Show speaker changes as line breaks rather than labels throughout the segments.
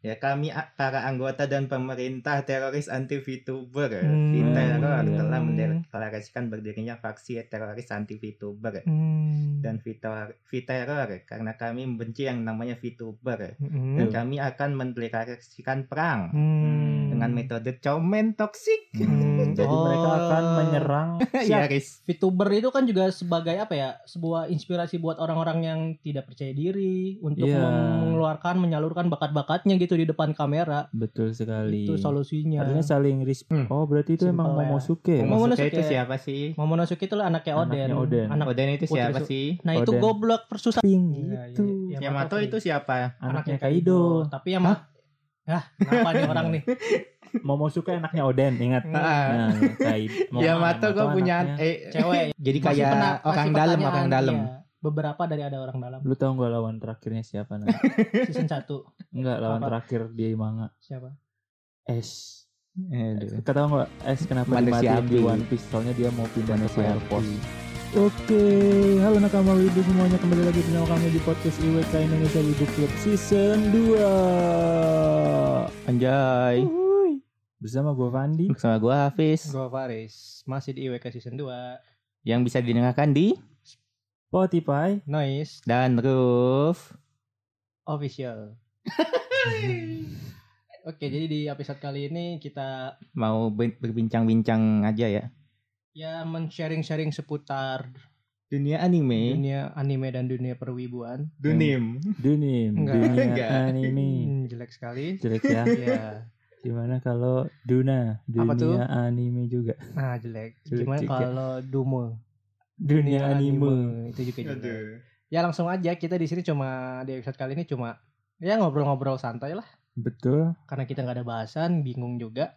Ya kami a- para anggota dan pemerintah teroris anti VTuber
Hmm.
Viteror
Iya.
telah mendeklarasikan berdirinya faksi teroris anti VTuber
Hmm.
dan Vitor- Viteror karena kami membenci yang namanya VTuber
Hmm.
dan kami akan mendeklarasikan perang
Hmm.
dengan metode comen toksik
Hmm.
Jadi mereka akan
Oh.
menyerang
Siap.
Siaris
VTuber itu kan juga sebagai apa ya sebuah inspirasi buat orang-orang yang tidak percaya diri untuk
Iya.
mengeluarkan menyalurkan bakat-bakatnya gitu di depan kamera
betul sekali.
itu solusinya.
Artinya saling respect.
Hmm.
Oh, berarti itu
Simpel
emang
ya.
Momosuke.
Momo-
Momonosuke
Momonosuke.
itu siapa sih?
Momonosuke itu lah anaknya Oden.
Anaknya Oden.
Anak,
Oden itu
Putri
siapa
Su-
sih?
nah itu
Oden.
goblok persusah.
Ping
Iya,
gitu.
iya, iya.
Yamato
Free.
itu siapa?
Anaknya Kaido.
Tapi yang Hah, kenapa nih orang nih?
Momosuke anaknya Oden, ingat.
Ah,
Nah, Kaido. Momo-
Yamato gue punya
anaknya.
eh,
Cewek.
jadi
Masih
kayak
pena- masih
orang dalam
pertanyaan,
orang dalam.
iya. Beberapa dari ada orang dalam.
Lu tau gak lawan terakhirnya siapa nanti?
Season 1
Enggak, lawan
Apa?
terakhir di manga.
siapa?
Ash.
Aduh.
Kau tau gak Ash kenapa
Iya. Manusia
dimatiin di
api.
One Piece? Soalnya dia mau pindah ke
Manusia
Fire
api.
Force. Oke, halo nakama wibu semuanya kembali lagi bersama kami di podcast IWK Indonesia Wibu Club Season 2
Anjay.
Bersama gue Fandi
Bersama gue Hafiz
Gue Faris. Masih di IWK Season 2.
Yang bisa didengarkan di
Spotify
Noise
Dan Roof
Official. Oke, jadi di episode kali ini kita
Mau ben- berbincang-bincang aja ya
ya men-sharing-sharing seputar
Dunia anime
dunia anime dan dunia perwibuan.
Dunim
Dunim
Enggak.
Dunia
Enggak.
Anime
Hmm, jelek sekali.
Jelek ya
Iya.
Gimana kalau Duna
Apa tuh?
Dunia Anime juga
Nah, jelek.
Jelek
Gimana
juga.
kalau Dumo?
Dunia, Anime
Itu juga jelek. Ya langsung aja kita di sini cuma di episode kali ini cuma ya ngobrol-ngobrol santai lah
Betul
karena kita nggak ada bahasan, bingung juga.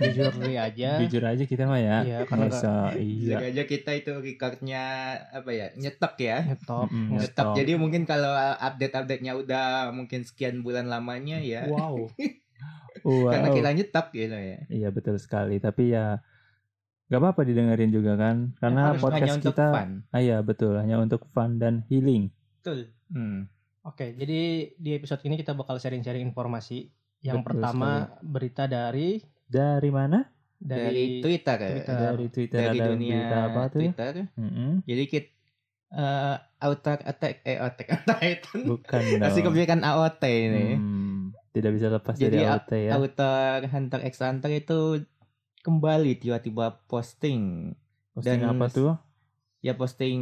Jujur dulu aja.
Jujur aja kita mah ya
Iya, karena nggak
Masa
Jujur
iya
aja kita itu recordnya apa ya nyetok ya
ngetop. Ngetop.
Mm-mm,
nyetok
nyetok.
jadi mungkin kalau update-update-nya udah mungkin sekian bulan lamanya ya
Wow.
Wow.
karena kita nyetok gitu ya
Iya betul sekali Tapi ya Gak apa-apa didengerin juga kan Karena
harus
podcast
hanya untuk
kita
fun
Ah iya betul, hanya untuk fun dan healing.
Betul.
hmm.
Oke, jadi di episode ini kita bakal sharing-sharing informasi. Yang
Betul
pertama berita dari
Dari mana?
dari,
dari, Twitter, ya.
Twitter.
Dari Twitter
Eh, dari
ada
dunia
berita apa tuh? ya?
Twitter
Mm-mm.
jadi kita eh Outer Attack eh Attack on Titan
Bukan dong.
Pasti kebanyakan AOT ini.
Hmm, tidak bisa lepas
Jadi,
dari
a-
AOT ya.
Author Hunter x Hunter itu kembali tiba-tiba posting.
Posting
dan-
apa tuh?
Ya posting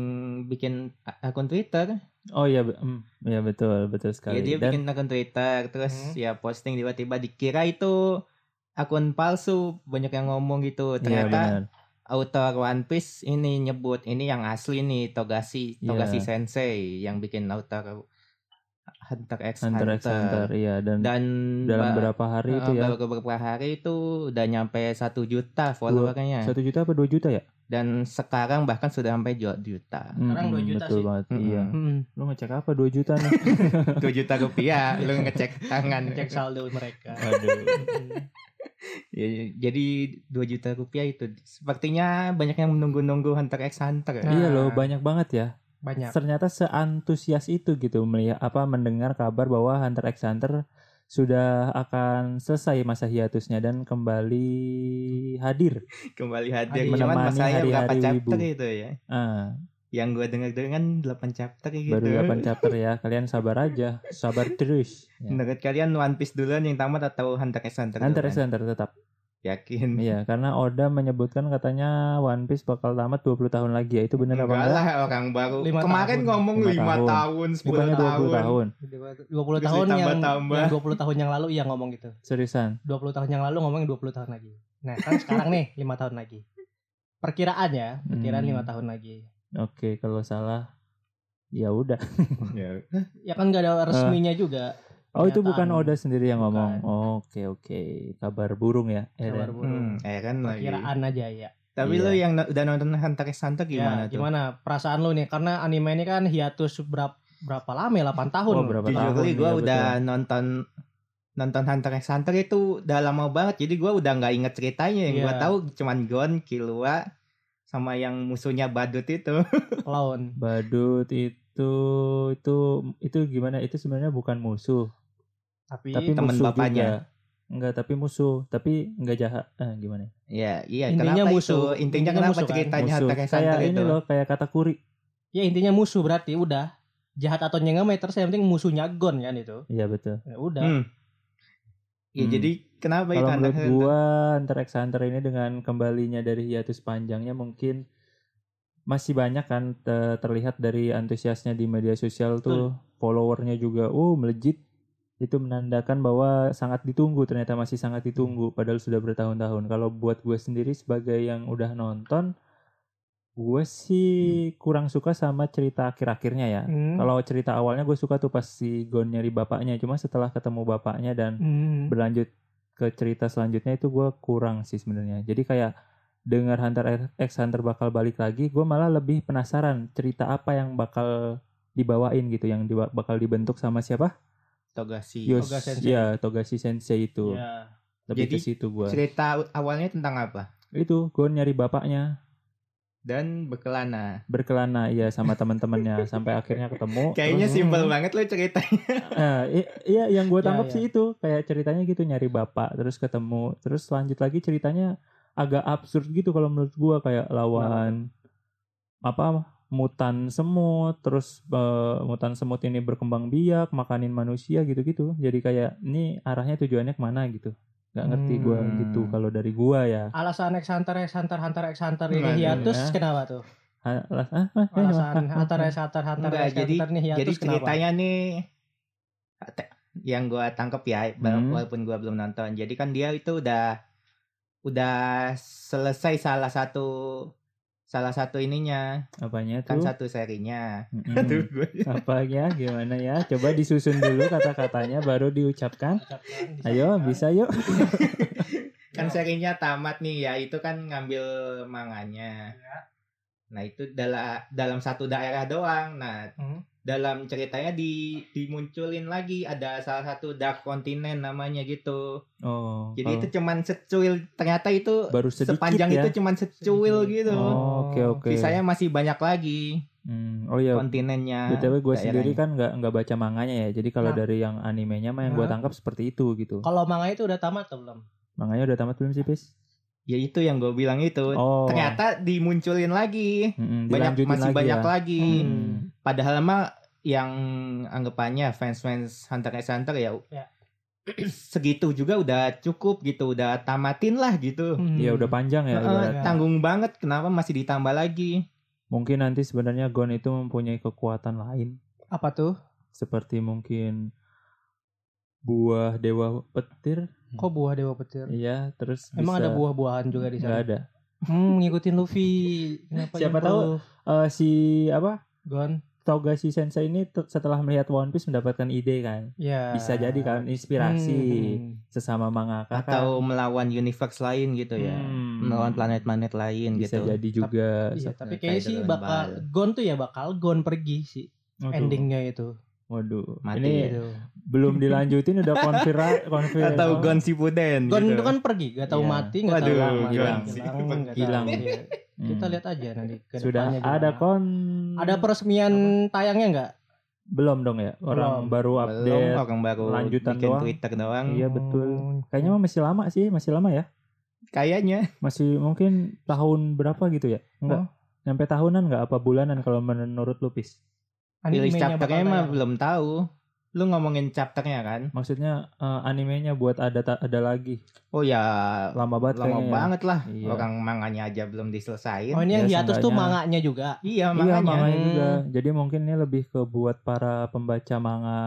bikin a- akun Twitter.
Oh iya, be- mm, iya betul, betul sekali.
Ya dia
dan
bikin akun Twitter terus
Hmm.
ya posting tiba-tiba dikira itu akun palsu. Banyak yang ngomong gitu.
iya
Ternyata
benar.
author One Piece ini nyebut ini yang asli nih Togashi
Iya.
Togashi Sensei yang bikin author Hunter x
Hunter
Hunter.
x Hunter, iya dan,
Dan
dalam
ba-
berapa hari itu
Eh,
ya?
baru beberapa hari itu udah nyampe satu juta followernya
Satu juta apa dua juta ya?
dan sekarang bahkan sudah sampai dua juta
Sekarang dua juta
betul
sih.
banget.
Mm-mm.
Iya.
Hmm,
Lu ngecek apa dua juta nih?
dua juta rupiah lu ngecek tangan
cek saldo mereka.
Aduh.
Hmm.
Ya, jadi dua juta rupiah itu sepertinya banyak yang menunggu-nunggu hunter x hunter
Nah.
iya loh, banyak banget ya.
Banyak.
ternyata seantusias itu gitu melihat apa mendengar kabar bahwa Hunter x Hunter sudah akan selesai masa hiatusnya dan kembali hadir.
kembali hadir
Hadir.
cuman
Menemani
masalahnya berapa
hari-hari
chapter
Wibu.
itu ya
Ah,
yang gue dengar-dengar kan 8 chapter gitu
baru 8 chapter ya. Kalian sabar aja, sabar terus. Ya.
menurut kalian One Piece duluan yang tamat atau Hunter x Hunter
Hunter x
duluan?
Hunter tetap.
yakin
Iya, karena Oda menyebutkan katanya One Piece bakal tamat 20 tahun lagi ya. Itu benar
Enggak
apa enggak?
lah orang baru
Lima
kemarin
tahun.
ngomong 5
Lima
tahun,
tahun.
10
Bukannya 20
tahun
tahun.
20
Terus
tahun yang,
ditambah-tambah.
yang 20 tahun yang lalu iya ngomong gitu.
Seriusan.
20 tahun yang lalu ngomongin 20 tahun lagi. Nah, kan sekarang nih 5 tahun lagi. Perkiraan ya, perkiraan
Hmm.
lima tahun lagi.
Oke, kalau salah ya udah.
Ya,
Ya kan gak ada resminya juga.
Oh, itu
Pernyataan.
bukan Oda sendiri yang
Bukan.
ngomong. Oke, oke. Kabar burung ya.
Kabar
Eren.
burung.
Hmm, eh kan lagi.
Perkiraan aja ya.
Tapi
Iya.
lu yang no- udah nonton Hunter x Hunter
ya,
gimana tuh?
gimana perasaan lu nih? Karena anime ini kan hiatus berapa berapa lama ya? 8 tahun.
Oh, berapa
Jujur
tahun
gue
ya,
udah nonton nonton Hunter x Hunter itu udah lama banget jadi gue udah nggak inget ceritanya yang gue
Iya.
tahu cuman Gon, Killua sama yang musuhnya badut itu
Lawan.
Badut itu itu itu gimana? Itu sebenarnya bukan musuh.
Tapi,
tapi
teman
musuh
bapaknya.
juga. Enggak, tapi musuh, tapi enggak jahat. Eh, gimana?
Ya, iya.
Intinya
kenapa
musuh.
Itu? Intinya,
Intinya
kenapa
musuh kan?
ceritanya
musuh.
Attack on
kayak
Titan
ini
itu?
loh, kayak kata kuri.
ya intinya musuh berarti udah jahat atau nggak matters yang penting musuhnya gon kan itu.
Iya betul.
Ya udah.
Hmm. Ya,
Hmm.
jadi kenapa itu
Kalau
anak
menurut gua Hunter x Hunter ini dengan kembalinya dari hiatus panjangnya mungkin masih banyak kan te- terlihat dari antusiasnya di media sosial tuh followernya juga uh melejit itu menandakan bahwa sangat ditunggu ternyata masih sangat ditunggu padahal sudah bertahun-tahun kalau buat gue sendiri sebagai yang udah nonton gue sih kurang suka sama cerita akhir-akhirnya ya
Hmm.
kalau cerita awalnya gue suka tuh pas si Gon nyari bapaknya cuma setelah ketemu bapaknya dan
Hmm.
berlanjut ke cerita selanjutnya itu gue kurang sih sebenarnya. Jadi kayak dengar Hunter X Hunter bakal balik lagi, gue malah lebih penasaran cerita apa yang bakal dibawain gitu, yang diba- bakal dibentuk sama siapa?
Togashi.
Yos,
Toga Sensei.
ya Togashi Sensei itu.
Ya.
Lebih
Jadi,
ke situ gue.
Cerita awalnya tentang apa?
Itu gue nyari bapaknya
Dan berkelana.
berkelana ya sama teman-temannya sampai akhirnya ketemu. Hmm.
Kayaknya
Terus-
simpel banget loh ceritanya.
Nah, i- iya yang gue
Ya, ya.
tangkap sih itu kayak ceritanya gitu nyari bapak terus ketemu terus lanjut lagi ceritanya agak absurd gitu kalau menurut gue kayak lawan apa mutan semut terus eh, mutan semut ini berkembang biak makanin manusia gitu-gitu jadi kayak ini arahnya tujuannya kemana gitu nggak ngerti gue
Hmm.
gitu kalau dari gue ya
Alasan X Hunter X Hunter Hunter X Hunter ini
Waduh,
hiatus
ya.
kenapa tuh?
Ha- lah, ah, ah, ah, ah,
Alasan
ah,
Hunter
ah.
X Hunter Hunter
Enggak,
X Hunter nih
Ya,
hiatus
Jadi
kenapa?
ceritanya nih te- yang gua tangkep ya wala-
Hmm.
walaupun gua belum nonton. Jadi kan dia itu udah udah selesai salah satu salah satu ininya,
apanya
kan
tuh Hmm.
satu serinya.
Mm-mm.
Aduh, gua-
apa ya gimana ya coba disusun dulu kata-katanya baru diucapkan
Ucapkan,
Ayo
disampaikan.
bisa yuk.
kan
Ya.
serinya tamat nih ya itu kan ngambil manganya
Iya.
nah itu dalam dalam satu daerah doang nah
Hmm.
dalam ceritanya di dimunculin lagi ada salah satu dark continent namanya gitu
Oh.
jadi
kalau
itu cuman secuil ternyata itu
baru sedikit
sepanjang
ya.
itu cuman secuil
Sedikit.
gitu
Oh, oke
Hmm.
oke.
sisanya masih banyak lagi
Hmm, oh ya.
kontinennya
BTW gue sendiri
daerahnya.
kan nggak nggak baca manganya ya. Jadi kalau
Nah.
dari yang animenya mah yang gue
Nah.
tangkap seperti itu gitu.
Kalau manga itu udah tamat atau belum?
Manganya udah tamat belum sih, Pis?
ya itu yang gue bilang itu
Oh.
ternyata dimunculin lagi
Mm-mm,
banyak
dilanjutin
masih
lagi
banyak
ya.
lagi
Hmm.
Padahal mah yang anggapannya fans-fans Hunter x Hunter ya,
Ya.
segitu juga udah cukup gitu, udah tamatin lah gitu.
Iya udah panjang ya.
Heeh,
ibarat.
tanggung banget, kenapa masih ditambah lagi?
Mungkin nanti sebenarnya Gon itu mempunyai kekuatan lain
apa tuh?
seperti mungkin buah dewa petir.
Kok buah dewa petir?
Iya, terus
Emang
Hmm. bisa-
ada buah-buahan juga di
Nggak
sana.
ada.
Hmm, ngikutin Luffy. Kenapa
Siapa
improve?
tahu Eh, si apa?
Gon.
Togashi Sensei ini te- setelah melihat One Piece mendapatkan ide kan.
Ya.
Bisa jadi kan inspirasi
Hmm,
sesama mangaka kan.
Atau melawan universe lain gitu ya,
Hmm.
melawan planet-planet lain
bisa
gitu.
jadi juga
Hmm. Iya,
se-
tapi
kayak
kayaknya
gitu
sih
kan,
Dragon
bakal Gon tuh ya bakal Gon pergi sih
Waduh,
endingnya itu.
Waduh.
Mati
Ini
Iya.
Gitu.
belum dilanjutin udah konfirmasi konfirmasi.
Atau Iya, Gon Shippuden
Gon
gitu.
itu kan pergi, gak tahu
Iya.
mati, gak
Waduh,
tahu lama,
hilang.
hilang, nggak tahu.
Hilang.
Iya.
Hmm.
Kita lihat aja nanti. ke
Sudah
depannya
ada
gimana.
kon
Ada peresmian tayangnya nggak?
belum dong ya? Orang
Belum.
baru
Belum
update.
orang baru
lanjutan
bikin
doang.
Twitter doang.
Iya betul. Kayaknya mah masih lama sih, masih lama ya.
Kayaknya
Masih mungkin tahun berapa gitu ya? Enggak. Nyampe tahunan enggak apa bulanan kalau menurut Lupis?
rilis
Animenya bakal
chapternya mah
tayang.
belum tahu. Lu ngomongin chapternya kan?
Maksudnya eh, animenya buat ada ta- ada lagi.
Oh ya,
Lama banget
lama
kayaknya ya.
banget lah.
Iya.
Orang manganya aja belum diselesain.
Oh ini yang
Ya,
hiatus tuh
seenggaknya.
manganya juga.
Iya,
Iya
makanya.
manganya
Hmm.
juga. Iya. Jadi mungkin ini lebih ke buat para pembaca manga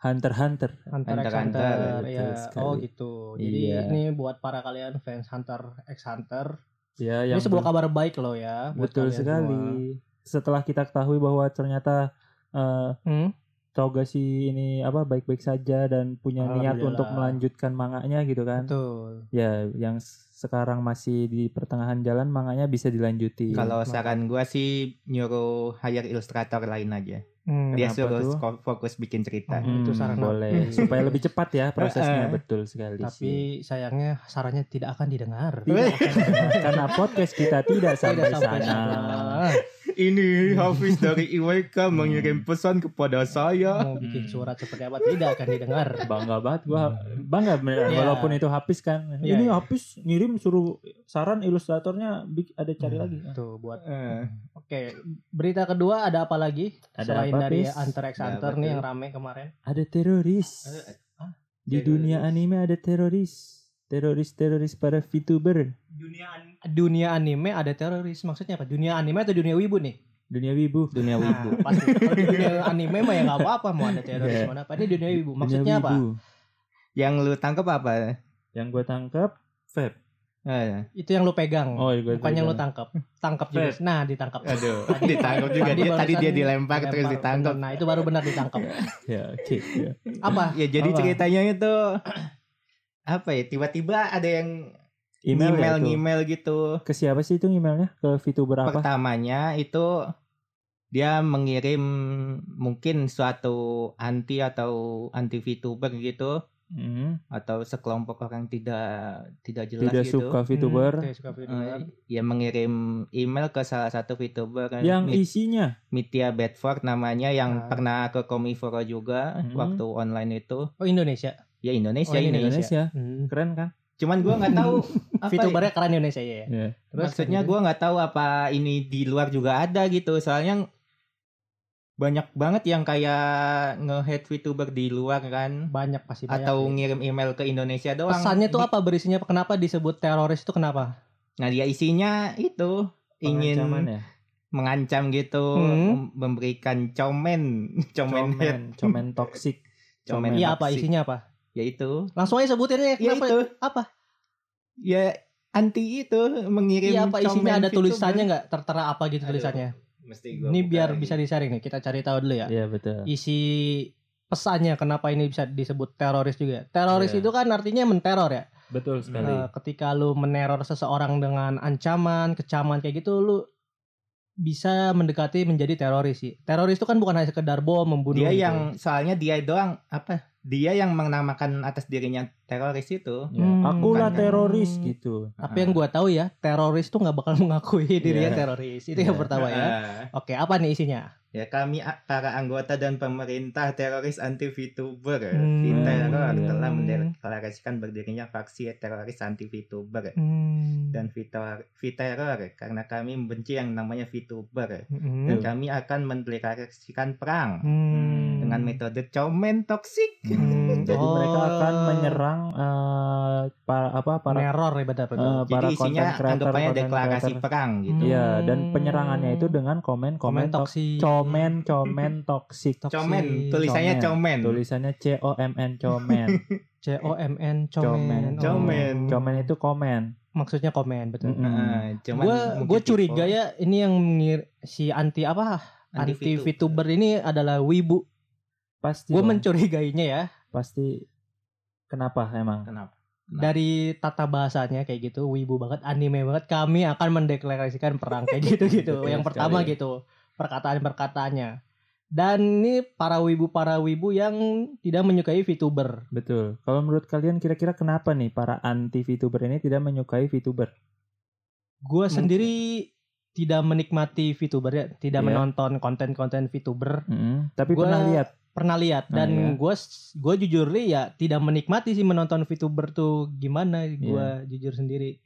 Hunter x Hunter.
Hunter x
Hunter x
Hunter,
Hunter,
ya.
betul sekali.
Oh gitu. Jadi
Iya.
ini buat para kalian fans Hunter x Hunter.
Ya
Ini
yang
sebuah kabar
ber-
baik loh ya. buat
betul
kalian semua.
sekali. Setelah kita ketahui bahwa ternyata eh,
Hmm?
Togashi ini apa baik-baik saja dan punya niat
Ah, Alhamdulillah.
untuk melanjutkan manganya gitu kan.
Betul.
Ya yang s- sekarang masih di pertengahan jalan manganya bisa dilanjuti.
Kalau
Iya,
saran gua sih nyuruh hire ilustrator lain aja.
Hmm.
Dia
Kenapa
suruh
tuh? Oh, iya.
sko- fokus bikin cerita.
Hmm. itu saran
boleh
aku. Eh,
supaya lebih cepat ya prosesnya
Heeh.
betul sekali Iya sih.
Tapi sayangnya sarannya tidak akan didengar.
Tidak
karena podcast kita tidak sampai
sampai
sana.
sana.
ini Hafiz dari IWK mengirim pesan kepada saya.
mau bikin
Hmm.
surat seperti apa tidak akan didengar.
bangga banget gua bangga beneran
Iya.
walaupun itu habis kan
Iya,
ini
iya.
habis ngirim suruh saran ilustratornya bik- ada cari lagi
Tuh Gitu, buat.
Eh,
Oke, berita kedua ada apa lagi?
Ada
Selain
apa,
dari
Pis?
Hunter x
Ada
Hunter
apa
nih
tuh?
yang rame kemarin.
ada teroris
Hah?
di
Teroris.
dunia anime ada teroris teroris teroris para VTuber
dunia an-
Dunia anime ada teroris. Maksudnya apa? Dunia anime atau dunia wibu nih?
dunia wibu
dunia wibu.
Nah, pasti. Kalau di dunia anime mah ya nggak apa-apa mau ada teroris
Iya.
mana apa. Ini dunia wibu.
Dunia
Maksudnya apa?
wibu.
Yang lu tangkap apa?
yang gue tangkap vape
Eh,
Itu yang lu pegang.
oh gue
Bukan yang lu tangkap. Tangkap juga. Nah, ditangkap.
aduh, Kan ditangkap juga dia. Tadi dia
barusan
dilempar terus
Lempar,
ditangkap.
bener. Nah, itu baru benar ditangkap.
ya oke ya.
Apa?
Ya jadi
Apa?
ceritanya itu apa ya? Tiba-tiba ada yang
email,
email
ya itu.
email gitu.
ke siapa sih itu emailnya ke VTuber apa
Pertamanya itu dia mengirim mungkin suatu anti atau anti VTuber gitu
Hmm,
atau sekelompok orang tidak tidak jelas
tidak
gitu.
suka VTuber
Hmm, tidak suka VTuber.
Eh, ya mengirim email ke salah satu VTuber
yang
Mi-
isinya
Mitya Bedford namanya yang
Ah.
pernah ke Komiforo juga
Hmm.
waktu online itu
Oh, Indonesia.
ya Indonesia
Oh,
ini
Indonesia.
Indonesia
Hmm.
keren kan
cuman gua nggak tahu apa ya.
VTubernya keren Indonesia ya.
ya
Terus
maksudnya gua nggak tahu apa ini di luar juga ada gitu soalnya banyak banget yang kayak nge-head VTuber di luar kan
banyak pasti banyak.
atau ngirim email ke Indonesia doang
pesannya tuh apa berisinya? Kenapa disebut teroris itu kenapa?
nah dia isinya itu ingin
Pengancaman ya
mengancam gitu
Hmm.
mem- memberikan komen komen head
Comen, comen toksik.
Comen
Iya apa
toksik.
isinya apa?
ya itu
Langsung aja sebutin
ya
ya. Kenapa?
itu
Apa?
ya anti itu mengirim
Iya apa
komen
isinya ada
VTuber.
tulisannya nggak? Tertera apa gitu
Aduh,
tulisannya?
Mesti gua
Ini
buka
biar
lagi.
bisa disaring nih. Kita cari tahu dulu ya.
Iya betul.
Isi pesannya kenapa ini bisa disebut teroris juga? Teroris
Iya.
itu kan artinya menteror ya.
Betul sekali.
Eh, ketika lu meneror seseorang dengan ancaman, kecaman kayak gitu, lu bisa mendekati menjadi teroris sih. Teroris itu kan bukan hanya sekedar bom membunuh.
dia
gitu.
yang soalnya dia doang apa dia yang menamakan atas dirinya teroris itu
Ya,
Hmm.
Akulah
Bukan.
teroris gitu.
Tapi yang gua tahu ya, teroris tuh nggak bakal mengakui dirinya
Iya.
teroris. Itu yang
Iya.
pertama ya.
Ah.
Oke, apa nih isinya?
ya kami a- para anggota dan pemerintah teroris anti VTuber
Hmm.
Viteror
Iya.
telah mendeklarasikan berdirinya faksi teroris anti VTuber
Hmm.
dan Vitor Viteror karena kami membenci yang namanya VTuber
Mm-mm.
dan kami akan mendeklarasikan perang
Mm.
dengan metode comen toksik
Hmm.
Jadi mereka
Oh.
akan menyerang eh, para apa para
Neror ya benar benar.
eh, para
jadi isinya
content creator,
anggapannya
content
deklarasi
creator.
perang gitu
Iya, dan
Hmm.
penyerangannya itu dengan komen
Komen
komen toksik.
toksi.
Comen, comen toksik.
Hmm,
comen
Toksik.
tulisannya comen,
Tulisannya C O M N comen.
C O M N
Comen.
comen. Oh.
Comen.
Comen itu komen.
maksudnya komen betul.
Mm-mm.
Heeh, cuman
Gue
mungkin
gue curiga
tipe
ya ini yang ngir- si anti apa anti VTuber ini adalah wibu.
Pasti.
Gue
dong,
mencurigainya ya
pasti kenapa emang?
Kenapa? Nah.
dari tata bahasanya kayak gitu wibu banget anime banget kami akan mendeklarasikan perang kayak gitu gitu.
Betul
yang
sekali.
pertama gitu perkataan perkataannya. Dan ini para wibu para wibu yang tidak menyukai VTuber.
Betul. Kalau menurut kalian kira-kira kenapa nih para anti VTuber ini tidak menyukai VTuber?
Gue
Hmm.
Mungkin.
sendiri tidak menikmati VTuber ya, tidak
Iya.
menonton konten-konten VTuber.
Mm-mm. Tapi
Gua-
pernah lihat.
pernah lihat
Nah, iya.
dan gue gue jujur nih ya tidak menikmati sih menonton VTuber tuh gimana
Iya.
gue jujur sendiri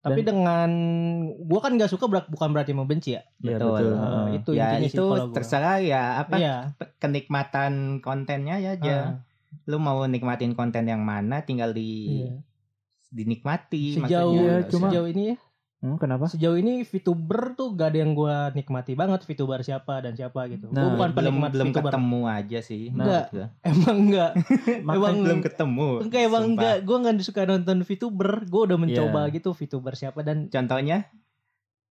tapi dengan gue kan nggak suka berak- bukan berarti membenci ya
Iya,
Betul.
Heeh.
Eh, itu
ya
intinya sih
itu
kalau gua.
terserah ya apa
iya
pe- kenikmatan kontennya ya aja.
ah,
Lu mau nikmatin konten yang mana tinggal di
iya.
dinikmati
sejauh
maksudnya.
Iya, cuma-
sejauh ini ya
Hmm, kenapa?
sejauh ini VTuber tuh gak ada yang gue nikmati banget VTuber siapa dan siapa gitu gue
Nah,
bukan
belum
penikmat
belum
VTuber
ketemu aja sih.
Enggak.
menurut gua.
emang enggak
Kan
emang
Nah. belum ketemu.
enggak
sumpah.
emang
Iya.
enggak gue nggak suka nonton VTuber gue udah mencoba gitu VTuber siapa dan
Contohnya?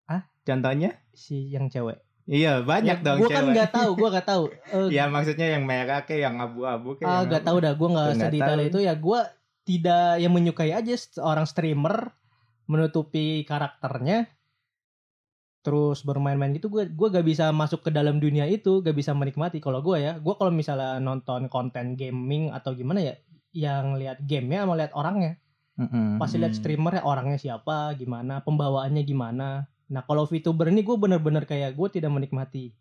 Hah?
Contohnya?
si yang cewek
Iya, banyak dong
gue kan
cewek.
nggak tahu gue nggak tahu Eh,
Ya maksudnya yang merah ke yang abu-abu ke
Ah,
yang
gak
apa.
tau dah, gue gak
Iya, Nggak
sedetail
tahu.
itu ya. Gue tidak yang menyukai aja seorang streamer menutupi karakternya, terus bermain-main gitu. Gue gua gak bisa masuk ke dalam dunia itu, gak bisa menikmati. Kalau gue ya, gue kalau misalnya nonton konten gaming atau gimana ya, yang lihat gamenya sama lihat orangnya.
Mm-mm.
Pasti lihat ya,
Hmm.
streamernya orangnya siapa, gimana, pembawaannya gimana. Nah kalau VTuber ini gue bener-bener kayak gue tidak menikmati.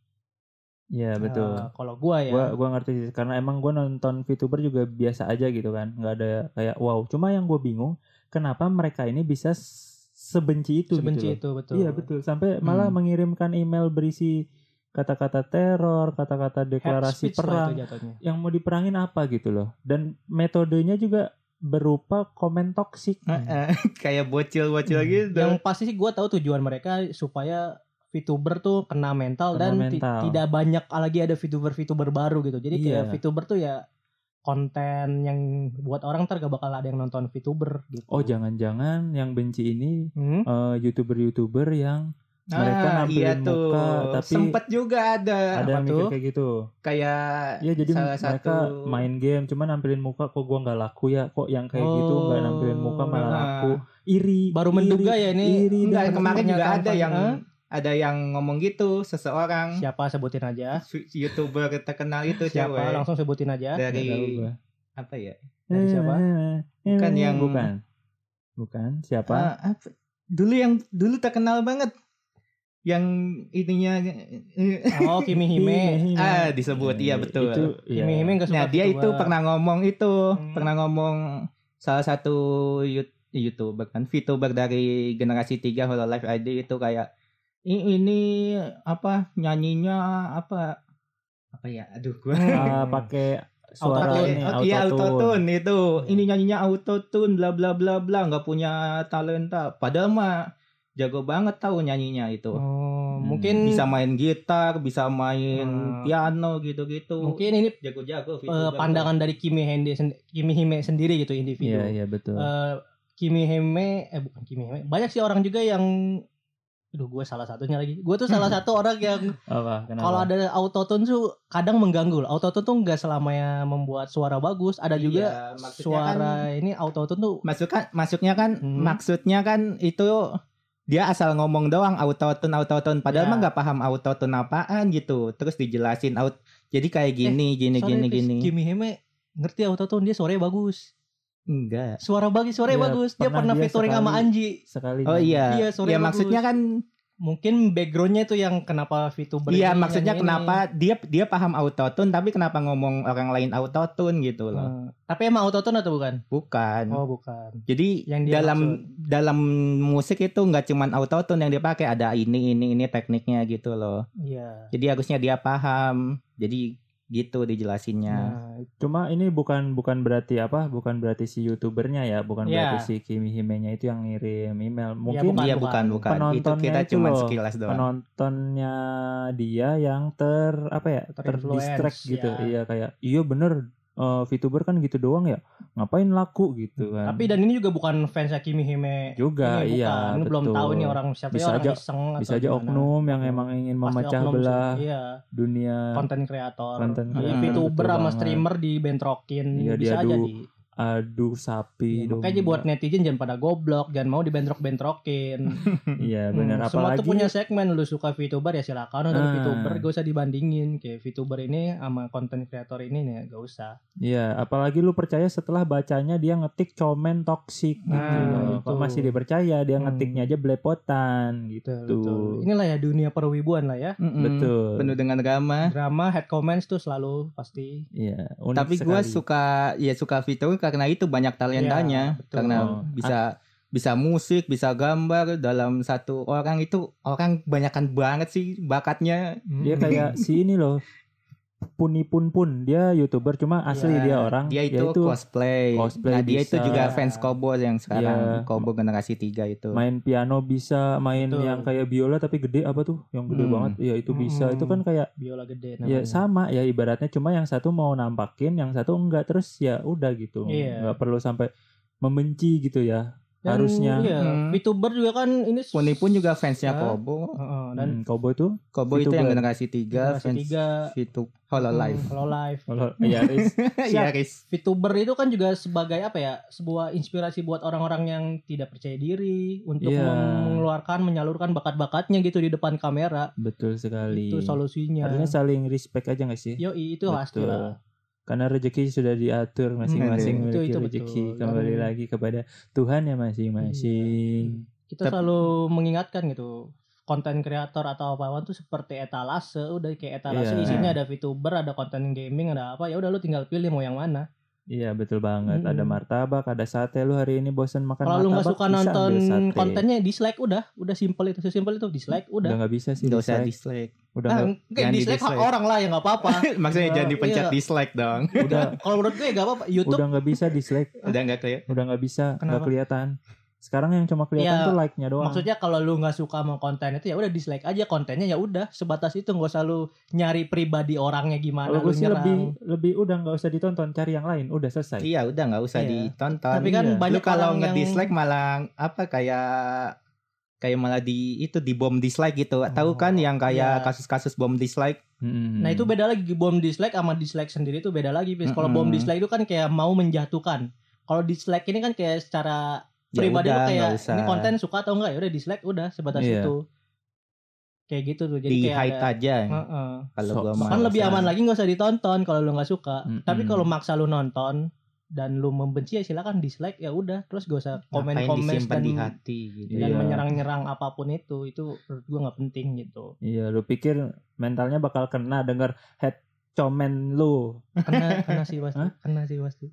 Iya betul.
Eh, kalau gue ya.
gua gua ngerti sih karena emang gua nonton VTuber juga biasa aja gitu kan nggak ada kayak wow cuma yang gue bingung kenapa mereka ini bisa s- sebenci itu
sebenci
gitu
itu betul.
loh. iya betul sampai malah
Hmm.
mengirimkan email berisi kata-kata teror kata-kata
Hate
deklarasi
speech lah
perang
itu jatuhnya.
yang mau diperangin apa gitu loh dan metodenya juga berupa komen toksik
Heeh, kayak bocil-bocil
Hmm.
gitu.
Yang pasti sih gue tahu tujuan mereka supaya VTuber tuh kena mental
Kena
dan ti-
mental.
tidak banyak lagi ada VTuber-VTuber baru gitu. Jadi kayak
Iya.
VTuber tuh ya konten yang buat orang ntar gak bakal ada yang nonton VTuber gitu.
oh jangan-jangan yang benci ini
Hmm?
eh, youtuber-youtuber yang mereka
Ah,
nampilin
iya tuh.
muka tapi
Sempet juga ada,
apa
ada yang mikir
tuh?
kayak gitu
kayak
Iya jadi
salah satu
mereka main game cuma nampilin muka kok gua nggak laku ya kok yang kayak gitu nggak nampilin muka malah
Ah.
laku iri
Baru
iri,
menduga ya ini
iri
Enggak,
dan-
kemarin juga
pernyataan
ada
Pak-
yang
gitu.
Hah?
ada yang ngomong gitu seseorang
Siapa sebutin aja.
su- youtuber terkenal itu
Siapa
cewek
langsung sebutin aja.
Nggak
dari
tahu gua. Eh,
apa ya?
dari siapa?
Bukan yang-
bukan bukan siapa
Ah, apa? Dulu yang dulu terkenal banget yang ininya
Oh Kimi Hime.
Hime, Hime.
ah disebut iya betul.
Iya. itu iya.
Kimi Hime gak suka
Nah dia itu
VTuber.
pernah ngomong itu,
Hmm.
pernah ngomong salah satu yut- youtuber kan, VTuber dari generasi 3 Hololive ID itu kayak "I- ini apa nyanyinya apa apa ya, aduh gua
Ah, pakai suara
Autotune. Hmm.
ini
Oh, iya
autotune.
autotune itu ini nyanyinya autotune bla bla bla bla nggak punya talenta padahal mah jago banget tahu nyanyinya itu
Oh,
Hmm,
mungkin
bisa main gitar bisa main
Hmm.
piano gitu gitu
mungkin ini
jago-jago
eh, pandangan dari Kimi Hende sen- Kimi Hime sendiri gitu individu.
iya iya betul
Ah.
Eh, Kimi Hime eh bukan Kimi Hime. Banyak sih orang juga yang aduh gue salah satunya lagi. Gue tuh salah satu orang yang
apa kenapa
kalau ada autotune tuh kadang mengganggu. loh. Autotune tuh nggak selamanya membuat suara bagus,
Iya,
ada juga suara ini autotune tuh
kan masukkan masuknya kan
Hmm.
maksudnya kan itu dia asal ngomong doang autotune autotune padahal
Ya.
mah nggak paham autotune apaan gitu terus dijelasin out jadi kayak gini gini
Eh, Sorry,
gini
Chris,
gini
Kimi Hime ngerti autotune dia suaranya bagus.
enggak
Suara bagus, suaranya
Iya,
bagus. Dia
pernah
pernah
dia
featuring sama
sekali.
Anji.
sekali
Oh iya.
Iya, sore
ya
bagus.
maksudnya kan
Mungkin backgroundnya itu yang kenapa VTuber
iya
ini
maksudnya
nyanyi ini.
kenapa dia dia paham autotune tapi kenapa ngomong orang lain autotune gitu loh.
Hmm. Tapi emang autotune atau bukan?
Bukan.
Hmm.
Oh, bukan.
Jadi
yang dia
dalam dalam musik itu nggak cuman autotune yang dipakai ada ini ini ini tekniknya gitu loh.
Iya.
Jadi harusnya dia paham. Jadi gitu
Ya. Hmm.
dijelasinnya.
Nah, itu-
Cuma ini bukan bukan berarti apa? Bukan berarti si youtubernya ya, bukan
Iya.
berarti si Kimi Himenya itu yang ngirim email.
Iya
Mungkin
bukan, bukan.
bukan bukan. Itu
Penontonnya
kita
itu
cuman
loh.
sekilas doang.
penontonnya dia yang ter apa ya?
Terinfluence,
Terdistract gitu.
ya.
Iya kayak iya bener eh, VTuber kan gitu doang ya. Ngapain laku gitu kan.
Tapi dan ini juga bukan fansnya Kimi Hime.
juga
ini bukan.
iya
Ini belum
betul.
tahu ini orang siapa
Bisa
orang
aja-
iseng
bisa
atau
aja
gimana.
oknum yang
Iya.
emang ingin
Pasti
memecah
oknum sih.
belah
Iya,
dunia
konten kreator.
Konten
Iya,
kreator,
VTuber
betul
sama
banget.
streamer dibentrokin
Iya,
bisa aja
diadu.
di.
adu sapi
Ya, makanya aja
domba.
buat netizen jangan pada goblok, jangan mau dibentrok-bentrokin.
Iya bener
Hmm, Semua
apalagi
tuh punya segmen lu suka VTuber ya silakan nonton
Ah.
VTuber gak usah dibandingin kayak VTuber ini sama konten kreator ini nih gak usah.
Iya, apalagi lu percaya setelah bacanya dia ngetik komen toksik gitu.
Nah,
loh.
itu.
Kok masih dipercaya dia
Hmm.
ngetiknya aja belepotan gitu.
Betul, betul. Inilah ya dunia perwibuan lah ya.
Mm-mm.
Betul.
Penuh dengan drama.
Drama head comments tuh selalu pasti.
Iya, unik
tapi gue
sekali.
suka ya suka Vito karena itu banyak
Iya,
talentanya
betul.
karena
Oh.
bisa bisa musik bisa gambar dalam satu orang itu orang banyakan banget sih bakatnya
dia kayak si ini loh. Puni pun pun dia youtuber cuma asli
Iya,
dia orang
dia itu cosplay,
Hmm. Ya cosplay
nah dia itu
bisa.
juga fans Kobo yang sekarang
Iya.
Kobo generasi 3 itu
main piano bisa main
Betul.
yang kayak biola tapi gede apa tuh yang gede
Hmm.
banget ya itu bisa
Hmm.
itu kan kayak
biola gede
ya
namanya.
sama ya ibaratnya cuma yang satu mau nampakin yang satu enggak terus ya udah gitu
Iya.
nggak perlu sampai membenci gitu ya
Dan
harusnya.
Iya,
Hmm.
VTuber juga kan ini s-
Puni pun juga fansnya
Hah?
Kobo
Heeh, dan
dan Kobo Hmm, tuh
Kobo itu
VTuber.
yang generasi 3
Gitu kan. generasi
fans
tiga.
Vito Hololive
Hmm, Kalau live.
Kalau ya Riz.
Iya Riz
VTuber itu kan juga sebagai apa ya sebuah inspirasi buat orang-orang yang tidak percaya diri untuk
Iya.
mengeluarkan menyalurkan bakat-bakatnya gitu di depan kamera
betul sekali.
itu solusinya. Iya.
Harusnya saling respect aja gak sih?
Yoi itu
Betul.
pasti lah.
Karena rezeki sudah diatur
Hmm,
masing-masing
itu-
memiliki
itu
rezeki
betul.
kembali
Dan-
lagi kepada Tuhan ya masing-masing.
Kita
Tep-
selalu mengingatkan gitu konten kreator atau apa-apa tuh seperti etalase udah kayak etalase
Iya.
isinya ada VTuber ada konten gaming ada apa ya udah lu tinggal pilih mau yang mana
Iya betul banget. Ada
Mm-mm.
martabak, ada sate. Lu hari ini bosen makan
Hmm. kalau lu
martabak.
nggak suka
bisa
nonton
ambil sate.
kontennya dislike udah udah simple itu sesimpel itu dislike
udah
udah
nggak bisa sih.
Nggak usah
dislike.
dislike.
Udah
ah,
nggak-
kayak
jangan di
dislike hak
dislike.
orang lah ya nggak apa-apa
Maksudnya jangan
Iya.
dipencet dislike dong.
udah
kalau menurut gue ya nggak apa-apa YouTube
udah nggak bisa dislike.
Udah nggak kayak
Udah nggak bisa. Nggak
Kenapa?
kelihatan. Sekarang yang cuma kelihatan
Iya,
tuh like-nya doang.
Maksudnya kalau lu nggak suka sama konten itu ya udah dislike aja kontennya ya udah sebatas itu nggak usah lu nyari pribadi orangnya gimana
Kalau
lu
gue sih
nyerang.
lebih lebih udah nggak usah ditonton, cari yang lain. Udah selesai.
Iya, udah nggak usah
Iya.
ditonton.
Tapi kan
Iya.
Lu
banyak
kalau
orang yang
nge-dislike malah apa kayak kayak malah di itu di bom dislike gitu. Tahu
Oh,
kan yang
iya.
kayak kasus-kasus bom dislike?
Mm-mm.
Nah itu
Hmm.
beda lagi bom dislike sama dislike sendiri itu beda lagi. Fis. Kalau bom
Mm-mm.
dislike itu kan kayak mau menjatuhkan. Kalau dislike ini kan kayak secara
Ya
pribadi lu
udah,
kayak
nggak usah.
ini konten suka atau enggak ya udah dislike udah sebatas
Iya.
itu. Kayak gitu tuh. Jadi
di
kayak
hide
ada-
aja.
Heeh.
Kalau
So-
gua
so-
mah
Kan lebih
nggak
aman
usah.
lagi nggak usah ditonton kalau lu nggak suka.
Mm-mm.
Tapi kalau maksa lu nonton dan lu membenci ya silakan dislike ya udah terus gak usah
Ngapain
komen-komen
disimpan
dan,
di hati gitu.
dan
Iya.
menyerang-nyerang apapun itu itu menurut gua nggak penting gitu
Iya, lu pikir mentalnya bakal kena dengar head comment lu.
kena kena sih pasti
Hah?
kena sih pasti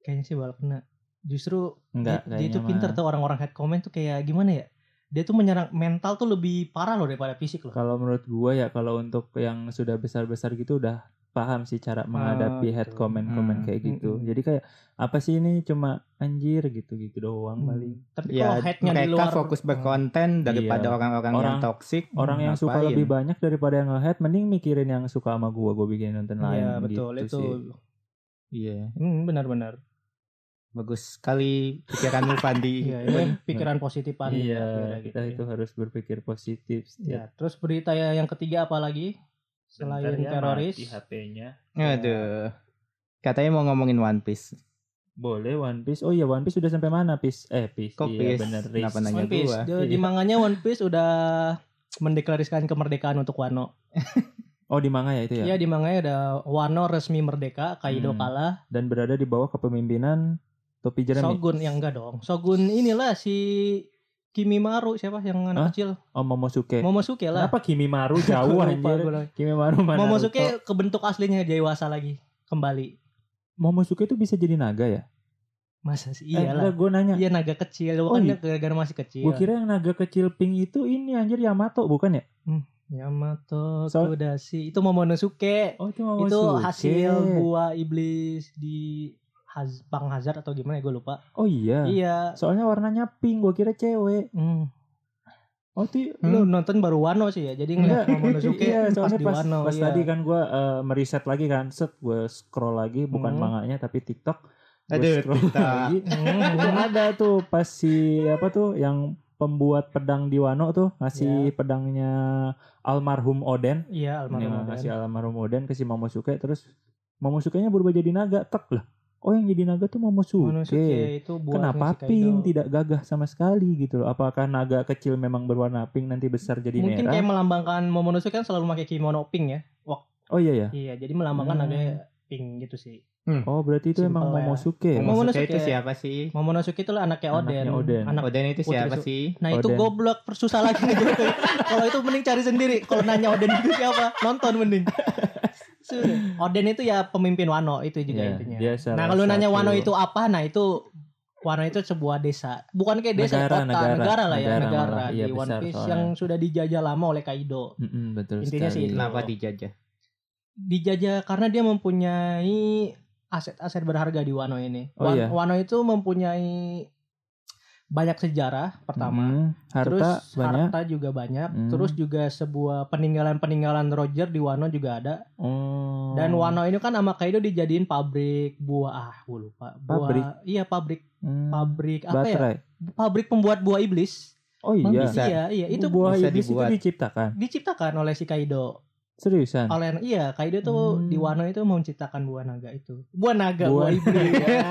kayaknya sih bakal kena justru
Enggak,
dia, dia
kayaknya
tuh pinter
mah.
tuh orang-orang head comment tuh kayak gimana ya dia tuh menyerang mental tuh lebih parah loh daripada fisik loh
Kalau menurut gua ya kalau untuk yang sudah besar-besar gitu udah paham sih cara menghadapi head
gitu.
comment-comment
Hmm.
kayak gitu.
Mm-mm.
Jadi kayak apa sih ini cuma anjir gitu-gitu doang
Hmm.
paling.
tapi
Ya,
kalau headnya di
mereka
luar Hmm.
fokus berkonten daripada
Iya.
orang-orang yang
Orang-
toksik.
Orang yang suka
ngapain?
lebih banyak daripada yang nge-head mending mikirin yang suka sama gua, gua bikin nonton lain
Iya betul
gitu
itu
sih.
Iya,
Hmm, benar-benar
bagus sekali pikiranmu Fandi.
Iya, ini pikiran positifan
Iya,
Kira-kira gitu
kita
ya.
itu harus berpikir positif.
ya terus berita ya yang ketiga apa lagi selain teroris
HP-nya.
Aduh. Katanya mau ngomongin One Piece.
Boleh One Piece. Oh iya One Piece udah sampai mana, Piece? Eh, Piece.
Kok
iya,
Piece?
bener,
Kenapa
Riz.
nanya?
One Piece
gua.
Di- di
Iya.
manganya One Piece udah mendeklarasikan kemerdekaan untuk Wano
Oh, di manga ya itu ya?
Iya di manganya ada Wano resmi merdeka, Kaido
Hmm.
kalah,
dan berada di bawah kepemimpinan Topi Jeremy.
Shogun yang enggak dong. Shogun inilah si Kimimaru siapa yang anak
Hah?
kecil?
Oh Momosuke.
Momosuke lah.
Kenapa Kimimaru
Gue
jauh
lupa,
anjir?
gue lagi.
Kimimaru mana? Naruto?
Momosuke ke bentuk aslinya dewasa lagi kembali.
Momosuke itu bisa jadi naga ya?
Masa sih
Eh,
iyalah.
enggak, gue nanya.
Iya naga kecil,
Oh,
kan
iya.
dia gara-gara masih kecil.
Gue kira yang naga kecil pink itu ini anjir Yamato bukan ya?
Yamato
So-
Kudashi itu Momonosuke.
Oh itu
Itu
Momosuke.
hasil buah iblis di Haz Bang Hazard atau gimana gue lupa.
Oh iya.
Iya.
Soalnya warnanya pink, gue kira cewek.
Hmm.
Oh itu
Lu nonton baru Wano sih ya. Jadi
Enggak.
ngeliat Momonosuke
iya,
pas
soalnya
di
pas,
Wano.
pas
iya.
tadi kan gue meriset lagi kan, set gue scroll lagi bukan
Hmm.
manganya tapi TikTok. Gua
Aduh,
scroll
TikTok.
lagi.
Hmm.
Itu ada tuh pas si apa tuh yang pembuat pedang di Wano tuh ngasih pedangnya almarhum Oden.
Iya, almarhum
Yang
Oden.
ngasih almarhum Oden ke si Momosuke terus Momosukenya berubah jadi naga, tek lah. Oh yang jadi naga tuh Momosuke.
Momonosuke itu buatnya
Kenapa
si Kaido.
pink tidak gagah sama sekali gitu loh? Apakah naga kecil memang berwarna pink nanti besar jadi
Mungkin
merah?
kayak melambangkan Momonosuke kan selalu pakai kimono pink ya.
Oh iya ya.
Iya, jadi melambangkan
Hmm.
agak pink gitu sih.
Oh berarti itu emang
Simpel ya.
Momosuke.
Momo-
Momonosuke
Momonosuke.
itu siapa sih?
Momonosuke itu lah anaknya Oden.
Anaknya Oden.
Anak
Oden itu
Putri
siapa
Su-
sih?
Nah itu
Oden.
goblok persusah lagi nih gue. Kalau itu mending cari sendiri. Kalau nanya Oden itu siapa, nonton mending. Sudah. Oden itu ya pemimpin Wano itu juga
Iya,
intinya.
dia salah
Nah kalau nanya
satu-
Wano itu apa, nah itu Wano itu sebuah desa, bukan kayak desa
Negara,
kota,
negara.
negara, lah ya,
Negara
negara,
malah. Iya,
di One
besar
Piece
soalnya.
yang sudah dijajah lama oleh Kaido.
Mm-mm, betul
Intinya sih
sekali.
itu.
Kenapa dijajah?
Dijajah karena dia mempunyai aset-aset berharga di Wano ini.
Oh,
Wan-
iya.
Wano itu mempunyai banyak sejarah pertama.
Mm,
Terus
harta banyak.
harta juga banyak,
Hmm.
terus juga sebuah peninggalan-peninggalan Roger di Wano juga ada.
Oh.
Dan Wano ini kan sama Kaido dijadiin pabrik buah ah, gue lupa. Buah,
Pabrik?
Iya pabrik,
Hmm,
pabrik apa ya?
baterai.
pabrik pembuat buah iblis.
Oh
Emang
iya.
bisa?
Iya, iya, itu
buah
bisa
iblis
dibuat.
itu diciptakan.
diciptakan oleh si Kaido.
Seriusan.
Oleh iya, Kaido tuh
Hmm.
di Wano itu mau menciptakan buah naga itu. Buah naga, buah,
Buah- Eh,
iblis. ya.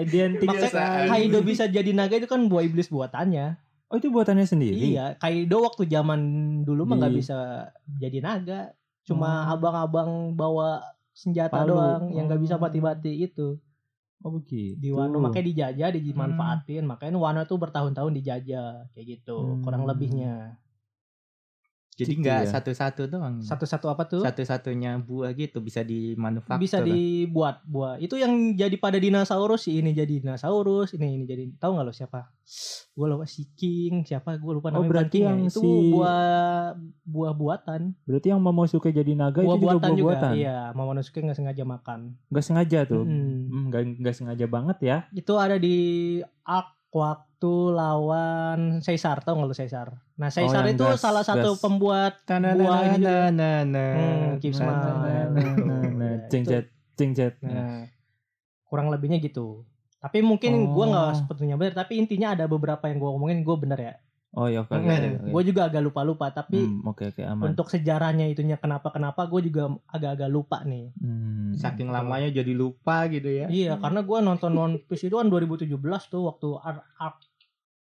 Identik.
Maksudnya Kaido bisa jadi naga itu kan buah iblis buatannya.
Oh itu buatannya sendiri.
Iya, Kaido waktu zaman dulu mah nggak
Di-
bisa jadi naga. Cuma
Oh.
abang-abang bawa senjata
Palu.
doang yang nggak bisa
Oh.
mati-mati itu.
Oh begitu.
di Wano makanya dijajah dimanfaatin makanya Wano tuh bertahun-tahun dijajah kayak gitu
Hmm.
kurang lebihnya
Jadi
Gitu
nggak
Iya.
ya.
satu-satu doang.
satu-satu apa tuh
Satu-satunya buah gitu bisa dimanufaktur.
bisa dibuat buah itu yang jadi pada dinosaurus sih ini jadi dinosaurus ini ini jadi tahu nggak lo siapa gue lupa si King siapa gue lupa
Oh,
namanya King
berarti
ya.
yang
itu
si-
buah buah buatan
Berarti yang Momosuke jadi naga
buah
itu juga
buatan
buah
juga
buatan.
iya mau manusia nggak sengaja makan
Nggak sengaja tuh.
Mm.
Hmm, nggak nggak sengaja banget ya.
itu ada di arc waktu lawan Caesar tau nggak lu Caesar nah Caesar
Oh, yang
itu
gas-
salah satu
gas.
pembuat
Buah
ini juga. gitu ya? Hmm,
Hmm,
keep
na-
Nah,
na-
smile.
na- na- na- na.
Nah, itu.
Cengjet, cengjet.
nah, kurang lebihnya gitu tapi mungkin gua nggak
Oh.
sepenuhnya benar tapi intinya ada beberapa yang gua ngomongin gue bener ya
Oh ya oke. oke,
Nah,
oke, oke.
gue juga agak lupa lupa tapi
Hmm, oke oke aman.
untuk sejarahnya itunya kenapa kenapa gue juga agak-agak lupa nih
Hmm.
Saking lamanya jadi lupa gitu ya.
iya karena gua nonton One Piece itu kan 2017 tuh waktu arc, arc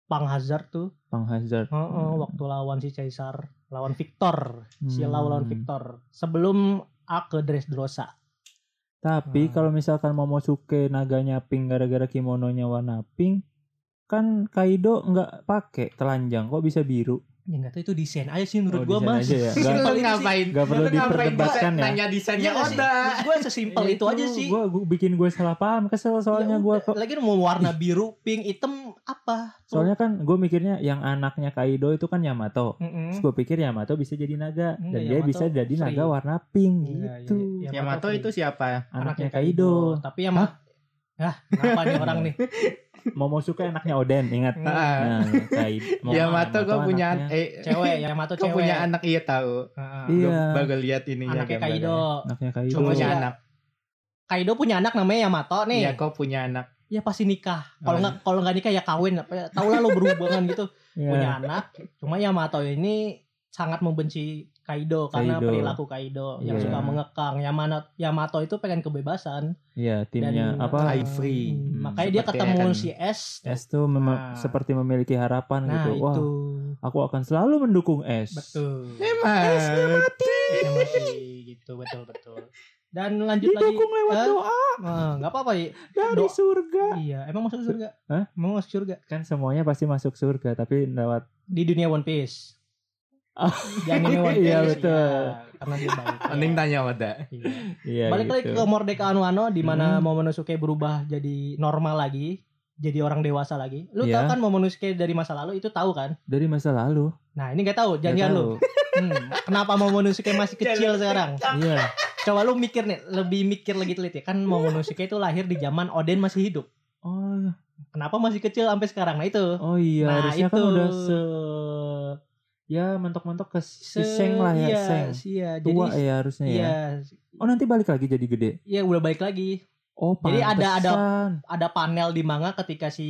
Pang Hazard tuh
Pang Hazard.
Heeh, waktu lawan si Caesar, lawan Victor, si Lau lawan
Hmm. Hmm.
Victor. Sebelum A ke Dressrosa.
Tapi
Hmm.
kalau misalkan Momosuke naganya pink gara-gara kimononya warna pink, kan Kaido nggak pakai telanjang, kok bisa biru?
Ya enggak tahu itu desain aja sih menurut
Oh,
gua,
desain
Mas.
aja ya.
Lu
Nggak-
Simpel itu sih.
ngapain?
nggak
Lu
perlu
ngapain
diperdebatkan
bisa
ya?
Nanya desainnya
Iya nggak sih?
Oda.
Menurut Gua sesimpel itu aja sih. Ya
Iya Gua, gua bikin gue salah paham, kesel soalnya gua kok.
lagi mau warna biru, pink, hitam apa?
Soalnya kan gue mikirnya yang anaknya Kaido itu kan Yamato. Terus
Mm-mm.
gue pikir Yamato bisa jadi
Enggak,
naga dan dia
Hmm. Yamato
bisa jadi naga
free.
warna pink
Iya, iya,
gitu.
iya.
Yamato itu siapa?
Anaknya Kaido.
Tapi yang Hah, kenapa nih orang nih?
Momosuke anaknya Oden, ingat.
Ah,
Nah, Kaido.
Iya,
Yamato gue punya
anaknya-
eh
Cewek, Yamato
gue
cewek.
punya anak iya tahu.
Heeh.
Gue
Iya.
baru lihat ininya
Anaknya
gambarnya.
Kaido.
Anaknya Kaido.
Cuma punya
Iya.
anak.
Kaido punya anak namanya Yamato nih.
Iya, kau punya anak.
ya pasti nikah
Oh,
kalau nggak kalau nggak nikah ya kawin apa ya. tau lah lo berhubungan gitu
Iya.
punya anak cuma Yamato ini sangat membenci Kaido karena
Kaido.
perilaku Kaido yang
Iya.
suka mengekang Yamato Yamato itu pengen kebebasan
Iya, timnya
dan
apa?
High free.
Hmm,
Hmm,
makanya dia
seperti
ketemu
akan-
si S
S tuh mema-
Nah.
seperti memiliki harapan
nah
gitu. Wah,
itu
aku akan selalu mendukung S.
betul
Emang.
Dia mati, gitu betul betul dan lanjut
Didukung
lagi
lewat
eh,
doa
eh, nggak apa-apa ya
dari
doa.
surga.
iya emang masuk surga
Hah?
emang masuk surga
Kan semuanya pasti masuk surga, tapi lewat
di dunia One Piece.
Ah.
Yang ini One Piece.
Iya,
ya,
betul.
karena dia balik.
Mending tanya Oda.
Iya.
iya
Balik lagi
gitu.
ke Mordecai Wano di mana
Hmm.
Momonosuke berubah jadi normal lagi, jadi orang dewasa lagi. Lu
Iya.
tahu kan Momonosuke dari masa lalu itu tahu kan?
dari masa lalu.
Nah, ini gak tahu, jangan
Nggak
lu.
tahu.
Hmm, kenapa Momonosuke masih kecil sekarang?
Iya.
Coba lu mikir nih, lebih mikir lagi teliti kan Momonosuke itu lahir di zaman Oden masih hidup.
Oh,
Kenapa masih kecil sampai sekarang? Nah, itu.
oh iya,
Nah,
harusnya kan
itu.
udah se ya mentok-mentok ke seng lah ya,
iya,
seng.
Iya, jadi
Tua ya harusnya ya.
Iya,
Oh, nanti balik lagi jadi gede.
Iya udah balik lagi.
Oh,
Jadi ada- ada-
pantesan.
Ada panel di manga ketika si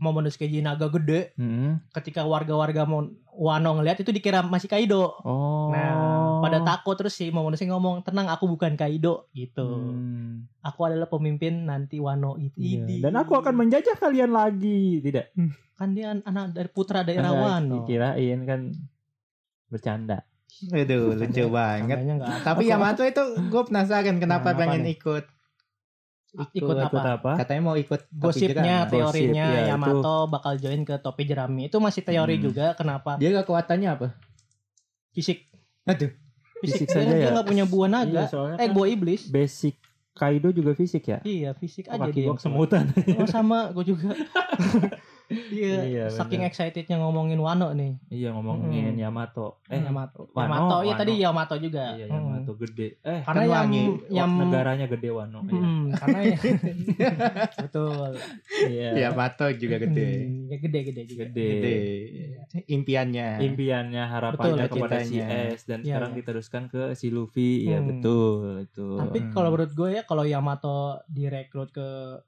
Momonosuke Jinaga gede,
Mm-mm.
ketika warga-warga Mon- Wano ngeliat itu dikira masih Kaido.
Oh.
Nah, pada takut terus si Momonosuke ngomong, "Tenang, aku bukan Kaido." gitu.
Hmm.
Aku adalah pemimpin nanti Wano itu.
Iya,
Idi.
Dan aku akan menjajah kalian lagi, tidak?
kan dia an- anak dari putra daerah
Enggak,
Wano.
Kirain kan bercanda.
Aduh, lucu banget.
Tandanya nggak ada.
Tapi Yamato itu gue penasaran kenapa
Kenapa
pengen
nih?
ikut.
ikut apa? Kan
Ikut apa?
Katanya mau ikut topi jerami.
Gosipnya,
Gosip,
teorinya
ya, itu.
Yamato bakal join ke topi jerami. Itu masih teori
Hmm.
juga kenapa
Dia kekuatannya apa?
fisik
Aduh,
dia,
Fisik saja
dia
ya?
nggak punya buah naga.
Iya, soalnya
eh,
kan
buah iblis.
basic Kaido juga fisik ya?
Iya fisik aja
Kaki
dia.
gua kesemutan.
Oh, sama gue juga. Iya,
Iya,
saking
bener.
excitednya ngomongin Wano nih.
iya, ngomongin
Mm.
Yamato. Eh,
Yamato.
Wano,
Yamato, iya
Wano.
tadi Yamato juga.
Iya,
Mm.
Yamato gede. Eh,
Karena
Kan
yang
wangi.
yang
negaranya gede Wano.
Mm, karena ya, betul.
Iya.
Yamato juga gede.
Mm, ya gede-gede juga.
Gede.
Gede. Impiannya.
Impiannya, harapannya
Iya. Betul,
kepada si
cita-citanya.
S dan
Iya,
sekarang
iya.
diteruskan ke si Luffy. Iya,
Hmm.
betul itu.
Tapi
Mm.
kalau menurut gue ya kalau Yamato direkrut ke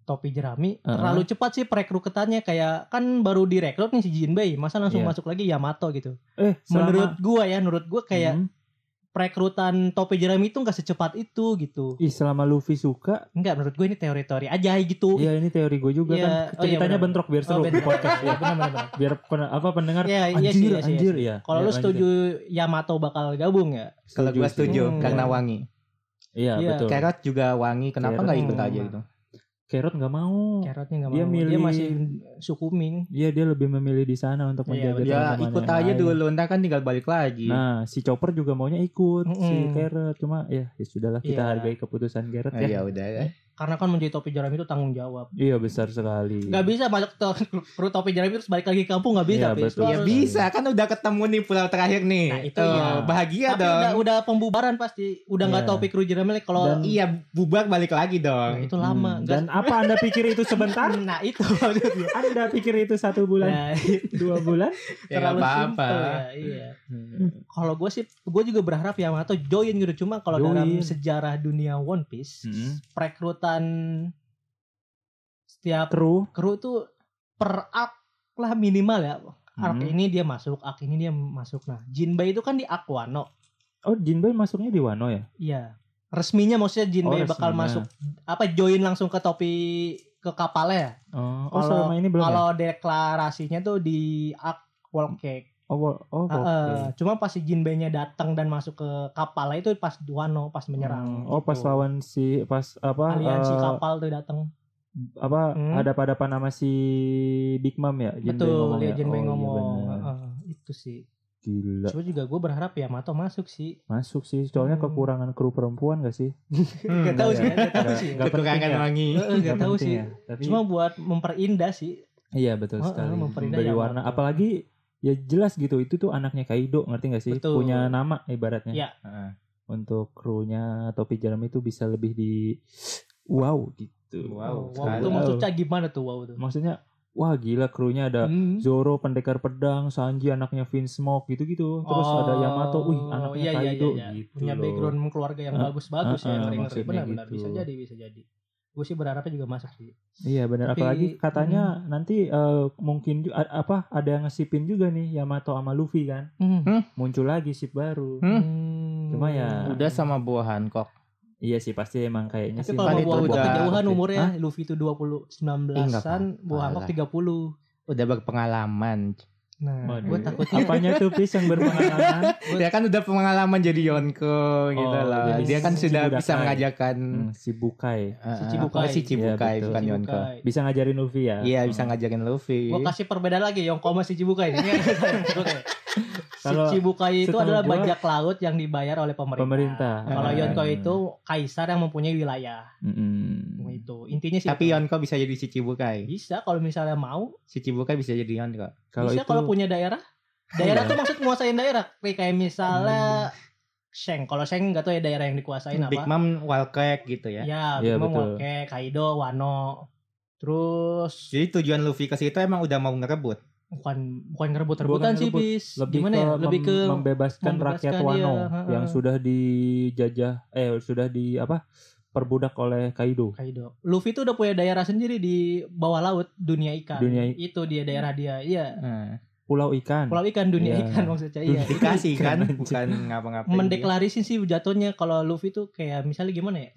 topi jerami
Uh-uh.
terlalu cepat sih perekrutannya kayak kan baru direkrut nih si Jinbei masa langsung
Iya.
masuk lagi Yamato gitu
eh, selama-
menurut gua ya menurut gua kayak
Hmm.
perekrutan topi jerami itu nggak secepat itu gitu
Ih, selama Luffy suka,
Enggak menurut gue ini teori-teori aja gitu
Iya ini teori gue juga
Iya,
kan
oh iya,
ceritanya
benar.
bentrok biar seru
Oh,
di
benar.
podcast
Iya,
ya.
benar-benar.
biar pen- apa pendengar
Iya,
anjir
iya sih, iya sih, iya
anjir
sih.
ya.
Kalau
Ya,
lu
lanjut
setuju Yamato bakal gabung ya?
ya.
Kalau gue setuju
Hmm.
karena
Iya.
wangi.
Iya
Iya.
betul.
Carrot juga wangi. Kenapa
Carrot
nggak ikut
juga
aja
wangi.
gitu?
Carrot nggak mau.
Carrotnya nggak
Hmm. Dia
mau. Dia
milih-
masih suku Ming.
Iya dia lebih memilih di sana untuk
Ya
Iya,
menjaga teman-teman
ikut
yang
aja
lain.
dulu, ntar kan tinggal balik lagi.
Nah si Chopper juga maunya ikut si
Mm-mm.
Carrot cuma ya ya sudahlah kita
Iya.
hargai keputusan Carrot
Nah,
ya.
ya udah. ya.
Karena kan menjadi topi jerami itu tanggung jawab.
Iya besar sekali.
Gak bisa masuk ke kru topi jerami terus balik lagi ke kampung nggak bisa.
Iya,
Fis.
betul.
Lu
Ya
harus-
bisa kan udah ketemu nih pulau terakhir nih.
Nah, itu
Eh,
iya.
Bahagia
Tapi
dong.
udah, udah pembubaran pasti. Udah nggak
Iya.
topi kru jerami lagi kalau
Dan-
Iya bubar balik lagi
Nah,
dong.
itu lama.
Hmm,
Nggak-
Dan apa anda pikir itu sebentar?
Nah itu maksudnya.
anda pikir itu satu bulan,
Nah,
dua bulan?
ya nggak
terlalu
apa-apa. Hmm.
simple ya, iya. Kalau gue sih, gue juga berharap Yamato join gitu. Cuma kalau
Join. Hmm.
dalam sejarah dunia One Piece,
Mm-mm.
perekrutan setiap
Kru
kru tuh per arc lah minimal ya. Arc
Mm.
ini dia masuk, arc ini dia masuk. Nah, Jinbei itu kan di Aquano.
Oh Jinbei masuknya di Wano ya?
Iya. Resminya maksudnya Jinbei
Oh,
bakal
resminya.
masuk apa join langsung ke topi ke kapalnya ya.
Oh, oh,
Kalau-
selama ini belum ya?
Kalau deklarasinya tuh di arc Wall Cake.
Oh, wo- oh,
Ah,
oke.
eh, cuma pas si Jinbei-nya datang dan masuk ke kapal itu pas Wano pas menyerang.
Oh, pas
gitu.
lawan si pas apa
aliansi
eh,
kapal tuh datang.
apa
Hmm?
hadap-hadapan sama si Big Mom ya? Jinbei
Betul,
ngomong
dia
ya?
Jinbei
Oh, iya
ngomong.
benar.
Heeh, itu sih.
Gila,
Cuma juga gue berharap ya Mato masuk sih.
masuk sih. Soalnya
Hmm.
kekurangan kru perempuan gak sih?
Hmm,
Gak tahu
iya.
sih, gak tahu sih.
Nggak penting
Kekurangan
ya.
wangi.
Heeh, Gak tahu
penting
sih.
ya. Tapi
Cuma buat memperindah sih.
iya betul
Heeh,
sekali.
memperindah
Beri
yang
warna
betul.
apalagi ya jelas gitu itu tuh anaknya Kaido ngerti gak sih?
Betul.
Punya nama ibaratnya.
Iya.
Heeh.
Untuk krunya topi jerami itu bisa lebih di wow gitu.
Wow,
wow
sekali.
itu maksudnya gimana tuh wow tuh?
Maksudnya wah gila krunya ada
Hmm.
Zoro pendekar pedang, Sanji anaknya Vince Smoke gitu-gitu. Terus
Oh,
ada Yamato, wih anaknya
iya, iya,
Kaido
iya, iya.
gitu.
Punya
loh.
background keluarga yang
Ah,
bagus-bagus
ah, ah,
ya, ngeri ngeri.
maksudnya
Benar-benar
gitu.
bisa jadi, bisa jadi. Gue sih berharapnya juga masuk sih.
Iya benar.
Tapi- hmm.
Apalagi katanya nanti eh, mungkin ju- a- apa ada yang ngesipin juga nih Yamato sama Luffy kan. Muncul lagi sip baru.
Hmm.
Cuma ya-
Udah sama buah Hancock.
Iya sih pasti emang kayaknya
Tapi
sih.
kalau
Paling
buah
tua
itu
udah-
kejauhan umurnya,
Hah?
Luffy itu 20
Eh, nggak
19-an, buah Hancock 30.
Udah berpengalaman.
Nah,
Waduh.
gue takutnya
Apanya tuh Pis yang berpengalaman?
Dia kan udah pengalaman jadi Yonko gitu
Oh,
loh.
jadi
Dia kan
si
sudah
Budakai.
bisa mengajarkan
Hmm, si Bukai.
eh,
Si Cibukai.
apa sih Cibukai
Iya, betul.
bukan Yonko.
Bisa ngajarin Luffy ya?
Iya bisa
Hmm.
ngajarin Luffy.
Gue kasih perbedaan lagi Yonko sama si Cibukai. Ini kan yang saya sebut ya. si
Kalau
Cibukai itu
setahu
adalah
gua-
bajak laut yang dibayar oleh pemerintah.
Pemerintah. Nah.
Kalau
Ah.
Yonko itu kaisar yang mempunyai wilayah.
Mm-mm.
Itu intinya sih.
Tapi
ya-
itu.
Yonko bisa jadi si Cibukai.
bisa kalau misalnya mau.
Si Cibukai bisa jadi Yonko.
Kalau
bisa
itu Iya.
kalau punya daerah. Daerah tuh maksud nguasain daerah. Kayak
Hmm.
misalnya Sheng. Kalau Sheng nggak tahu ya daerah yang dikuasain apa.
Big Mom Walcrack gitu ya.
Ya,
Iya,
Bima
betul.
Moke, Kaido, Wano. Terus
Jadi tujuan Luffy ke situ emang udah mau ngerebut.
bukan bukan ngerebut-rebutan
Bukan
sih,
ngerebut,
Bis.
lebih
Gimana
ke,
ya? Lebih
mem-
ke
membebaskan, rakyat
membebaskan,
Wano
iya, ha-ha.
yang sudah dijajah eh sudah di apa perbudak oleh Kaido.
Kaido. Luffy tuh udah punya daerah sendiri di bawah laut dunia ikan.
Dunia i-
Itu dia daerah dia. Iya.
Heeh.
Pulau ikan.
Pulau ikan dunia
Iya.
ikan maksudnya. Iya.
Dikasih kan
Anjing.
bukan ngapa-ngapain. dia.
Mendeklarasi sih jatuhnya kalau Luffy tuh kayak misalnya gimana ya?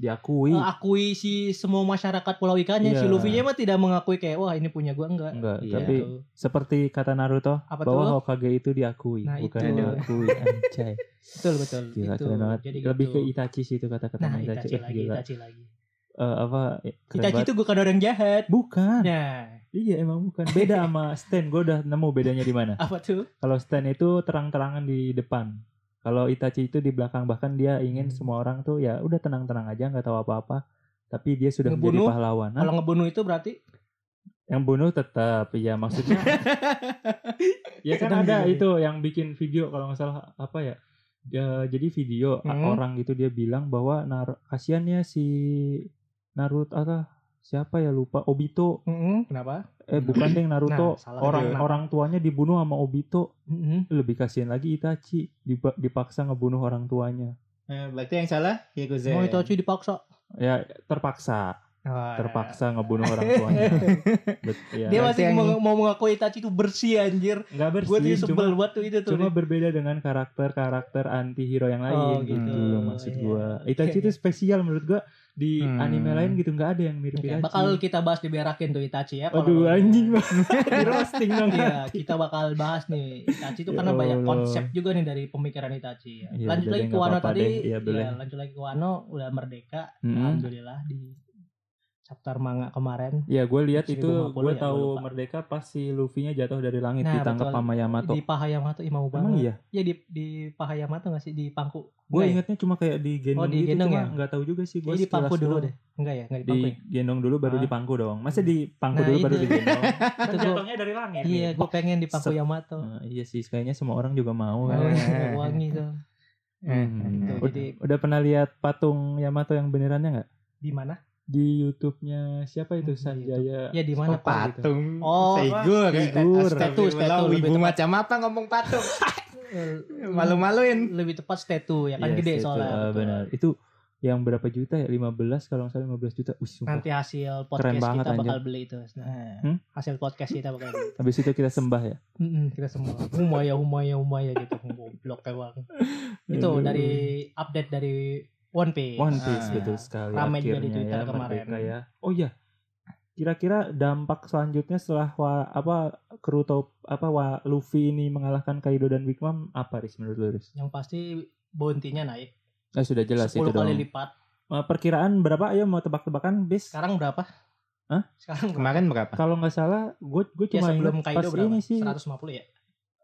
Eh,
diakui.
Akui si semua masyarakat pulau ikannya si
Iya.
Luffy-nya mah tidak mengakui kayak wah ini punya gua enggak.
Enggak,
Iya.
tapi
Gitu.
seperti kata Naruto
Apa
bahwa
tuh?
Hokage itu diakui,
Nah,
bukan
itu.
diakui. Anjay.
Betul betul.
Gila,
Itu.
keren banget.
Jadi
Lebih
gitu.
ke Itachi sih itu kata-kata
Nah,
Itachi.
Itachi
Eh,
lagi,
gila.
Itachi lagi.
Eh, apa? eh, keren
Itachi
banget.
itu bukan orang jahat.
bukan.
Nah,
Iya, emang bukan. Beda sama Stan. Gue udah nemu bedanya di mana.
apa tuh?
Kalau Stan itu terang-terangan di depan. Kalau Itachi itu di belakang bahkan dia
Hmm.
ingin semua orang tuh ya udah tenang-tenang aja nggak tahu apa-apa. Tapi dia sudah
Ngebunuh?
menjadi pahlawan. Hah?
Kalau ngebunuh itu berarti
Yang bunuh tetap ya maksudnya. ya kan
Sedang
ada
dibunuh.
itu yang bikin video kalau nggak salah apa ya. Ya, jadi video a-
Hmm.
orang gitu dia bilang bahwa Nar kasiannya si Naruto atau siapa ya lupa Obito
kenapa?
eh bukan deh
Nah,
Naruto
salah.
orang
Iya.
orang tuanya dibunuh sama Obito lebih kasihan lagi Itachi dipa- dipaksa ngebunuh orang tuanya.
Eh, berarti yang salah Yakuza.
Iya,
Mau
Kan
Itachi dipaksa.
Ya terpaksa, terpaksa Iya, ngebunuh orang tuanya. Bet, ya.
Dia
Berarti
masih
yang-
mau, mau mengakui Itachi itu bersih anjir.
nggak
Gue tuh
bersih,
sebel
cuma,
banget tuh itu tuh.
cuma berbeda dengan karakter-karakter anti-hero yang lain
Oh,
gitu.
gitu.
loh maksud
Iya.
gua. Itachi itu spesial menurut gua di
Hmm.
anime lain gitu nggak ada yang mirip
Oke,
Itachi.
Iya, bakal kita bahas di berakin tuh Itachi ya. kalau-
Aduh anjing banget di roasting dong.
Iya, kita bakal bahas nih Itachi itu
Ya
karena banyak
Allah.
konsep juga nih dari pemikiran Itachi. Ya.
Iya,
lanjut
udah
lagi
deh,
ke
nggak
Wano
apa-apa
tadi. Iya,
deh. Iya, boleh.
lanjut lagi ke Wano udah merdeka.
Mm-mm.
Alhamdulillah di Saptar Manga kemarin
Ya gue lihat itu
1050
gue
ya, gua
tahu
lupa.
Merdeka pas si Luffy-nya jatuh dari langit
Nah,
ditangkap
betul.
sama Yamato.
di Paha Yamato ih, mau
Emang
banget.
iya.
Ya di di Paha Yamato nggak sih di Pangku?
Gue
Enggak ya?
ingatnya cuma kayak di gendong
Oh, di
gitu,
gendong
cuma
ya?
nggak tahu juga sih gue
Kayaknya di Pangku dulu deh. Enggak ya, enggak di
Di
Pangku. ya?
gendong dulu baru
Hah?
dipangku dong. Masa di pangku
Nah,
dulu baru
itu.
digendong? kan
Itu gua-
jatuhnya dari langit.
Iya, gue pengen di Pangku
Set.
Yamato.
Eh, iya sih, kayaknya semua orang juga mau.
Mau, ya?
kan.
Eh.
wangi tuh. Gitu,
Hmm. Udah,
Oh,
jadi-
udah pernah lihat patung Yamato yang benerannya nggak?
Di mana?
Di YouTube-nya siapa
Di
itu Sanjaya?
Ya di mana
Apa?
Pak?
patung
Oh,
figur
Figur.
Statu,
Statu,
statu
lebih
ibu
tepat.
macam apa ngomong patung
Eh,
malu-maluin
Lebih tepat statu ya kan
Yes,
gede
itu,
soalnya.
eh, benar. Itu yang berapa juta ya? 15 kalau nggak salah 15 juta. Wih, sumpah.
Nanti hasil podcast
banget,
kita bakal
anjir.
beli itu. Nah,
Hmm?
Hasil podcast kita bakal beli.
Habis itu kita sembah ya.
Mm-mm, kita semua humaya humaya humaya gitu goblok emang itu
Aduh.
dari update dari One Piece Nah,
One Piece
Ah,
betul sekali.
ramai juga di
Akhirnya
Twitter
ya,
kemarin.
Merdeka ya. Oh iya. Kira-kira dampak selanjutnya setelah wa- apa kru top apa wa- Luffy ini mengalahkan Kaido dan Big Mom apa Riz menurut lu Riz?
yang pasti bounty-nya naik
Eh, sudah jelas itu
10 kali
dong.
lipat
Eh, perkiraan berapa ayo mau tebak-tebakan bis?
sekarang berapa
Hah?
sekarang berapa?
kemarin berapa
Kalau nggak salah gue gue
ya
cuma
sebelum
ingat
Kaido
pas
berapa
ini sih
150 ya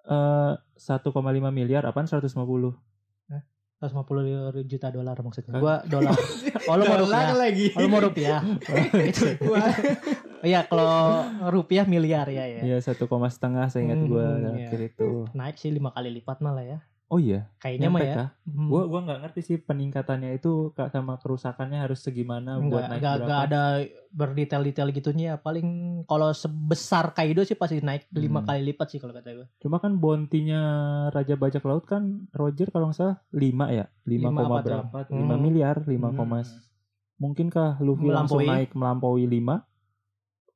eh, 1,5 miliar apaan 150
150 juta dolar maksudnya
Kan?
gua dolar kalau mau rupiah
Dolar lagi
kalau mau rupiah itu
Wah.
ya kalau rupiah miliar ya ya
Iya satu koma setengah saya ingat
Hmm,
gue
iya.
terakhir itu
naik sih lima kali lipat malah ya
oh iya
kayaknya mah
nyampe
ya
kah?
Hmm.
Gua gua nggak ngerti sih peningkatannya itu Kak, sama kerusakannya harus segimana
Enggak,
buat naik
enggak,
berapa.
enggak ada berdetail-detail gitunya. ya. Paling kalau sebesar Kaido sih pasti naik lima
Hmm.
kali lipat sih kalau kata gue.
Cuma kan bontinya Raja Bajak Laut kan Roger kalau nggak salah 5 ya. 5,
Lima
koma
apa tuh?
berapa?
Hmm.
5 miliar, 5, koma
Hmm.
mungkinkah Luffy langsung
Melampaui.
naik melampaui 5?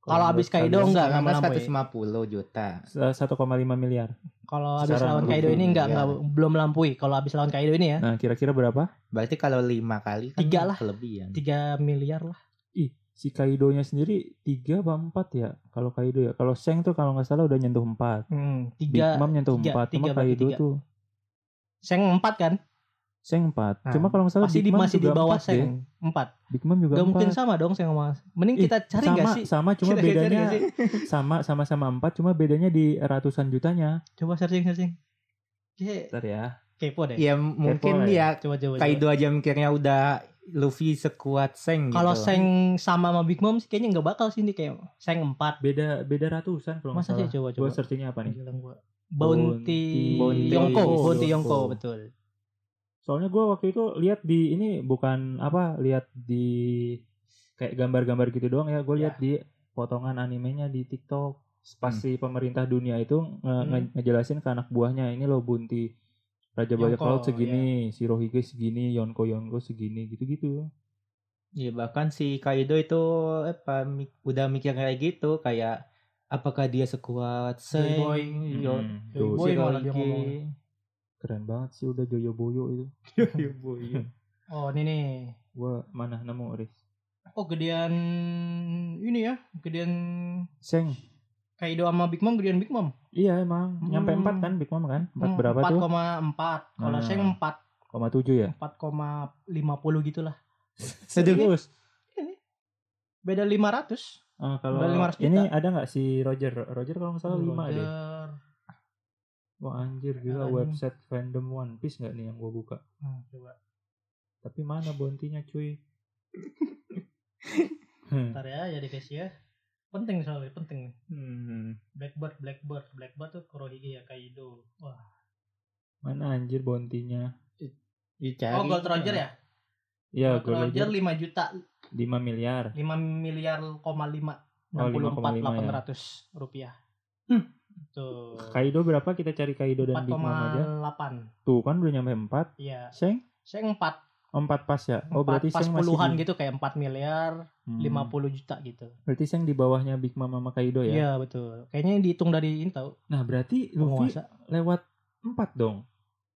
Kalau abis Kaido
Kalau
enggak, enggak
sekarang
melampaui.
150 juta
1,5 miliar.
Kalau habis
Secara
lawan
rupiah,
Kaido ini enggak,
iya.
enggak belum lampui. Kalau habis lawan Kaido ini ya
Nah, kira-kira berapa?
berarti kalau lima kali kan
Tiga lah.
kelebihan
3 miliar lah.
Ih, si Kaidonya sendiri 3 apa 4 ya? Kalau Kaido ya. Kalau Seng tuh kalau nggak salah udah nyentuh 4.
Hmm,
Big
3
Mom nyentuh
tiga,
4,
tiga
cuma
bagi
Kaido
tiga.
tuh
Seng 4 kan?
Seng 4.
Nah,
Cuma kalau nggak salah
Pasti
Big
di,
Mom
masih di
juga
bawah
empat deh.
Seng 4.
Big Mom juga
Enggak mungkin
4.
sama dong Seng sama. Mending
Ih,
kita cari
sama,
enggak sih?
sama cuma
Kita cari nggak
bedanya
sih?
sama sama sama empat cuma bedanya di ratusan jutanya
Coba searching searching. Ye,
Bentar ya
kepo deh.
ya mungkin
Kepo,
dia
Coba coba. coba.
Kaido aja mikirnya udah Luffy sekuat Seng gitu
Kalau Seng sama sama Big Mom sih kayaknya enggak bakal sih ini kayak Seng 4.
beda beda ratusan kalau nggak
Masa sih
salah
coba
gue
coba.
searchingnya apa nih
Bilang gua. Bounty,
Bounty-
Bounty
Yongko,
Yongko.
Bounty Yongko betul.
soalnya gue waktu itu lihat di ini bukan apa lihat di kayak gambar-gambar gitu doang ya gue lihat di potongan animenya di TikTok pas
Hmm.
si pemerintah dunia itu nge- nge- ngejelasin ke anak buahnya ini loh bunti Raja Bajak
Yonko,
Laut segini, Shirohige segini, Yonko Yonko segini gitu-gitu.
Ya bahkan si Kaido itu apa mi- udah mikir kayak gitu kayak apakah dia sekuat Seng,
Boy.
Yo,
Hmm,
Yo,
tuh.
Boy malah dia ngomong.
Keren banget sih udah Joyo Boyo itu.
Oh, ini nih.
Gua mana nemu Riz?
Oh, gedean ini ya, gedean
Seng.
Kaido sama Big Mom, gedean Big Mom.
Iya emang
Hmm.
nyampe 4 kan Big Mom kan? 4
Hmm,
berapa tuh?
4,4. Kalau
Nah.
Seng 4
Koma 7 ya.
4,50 gitu lah.
Serius.
Beda 500.
Eh, kalau
Udah 500 juta.
ini ada nggak si Roger? Roger kalau nggak salah 5 Oh, deh.
Roger.
Wah anjir gila
Anjing.
website fandom One Piece nggak nih yang gua buka?
Nah, coba.
Tapi mana bontinya cuy? Hmm.
Bentar ya, jadi guys ya. Penting soalnya, penting.
Hmm.
Blackbird, Blackbird, Blackbird tuh Kurohige ya Kaido. Wah.
Mana anjir bontinya?
Dicari.
Oh, Gold Roger ya?
Ya,
Gold Roger 5 juta
5 miliar.
5 miliar koma lima enam
Oh,
puluh empat
5,5
delapan
ya.
ratus rupiah tuh
Kaido berapa kita cari Kaido dan
empat
Big Mom aja?
delapan
Tuh kan udah nyampe 4.
iya
Seng?
saya empat
Oh, 4 pas ya. Oh berarti
pas
Seng masih
puluhan
di-
gitu kayak empat miliar
Hmm.
lima puluh juta gitu
Berarti Seng di bawahnya Big Mom sama Kaido ya.
iya betul kayaknya dihitung dari ini tau
Nah, berarti Luffy
penguasa
lewat 4 dong.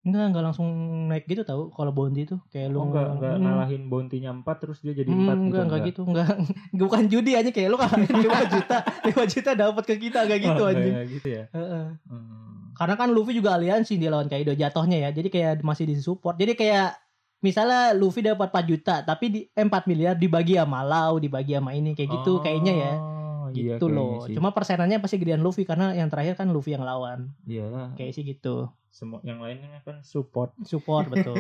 enggak enggak langsung naik gitu tau kalau bounty tuh kayak lu
Lu enggak enggak
Hmm.
Oh, ngalahin bounty-nya 4 terus dia jadi
Hmm, enggak,
4 gitu.
enggak gitu, enggak. Bukan judi aja kayak lu kan 5 juta, 5 juta dapat ke kita enggak gitu
Oh,
anjing.
kayak gitu ya.
Heeh.
Hmm.
Karena kan Luffy juga aliansi dia lawan Kaido jatuhnya ya. Jadi kayak masih disupport. Jadi kayak misalnya Luffy dapat 4 juta tapi di eh, 4 miliar dibagi sama Lau dibagi sama ini kayak gitu kayaknya ya
Oh, iya,
gitu
kayaknya
loh
sih.
cuma persenannya pasti gedean Luffy karena yang terakhir kan Luffy yang lawan
iyalah
kayak sih gitu
Iya, semua yang lainnya kan support
support betul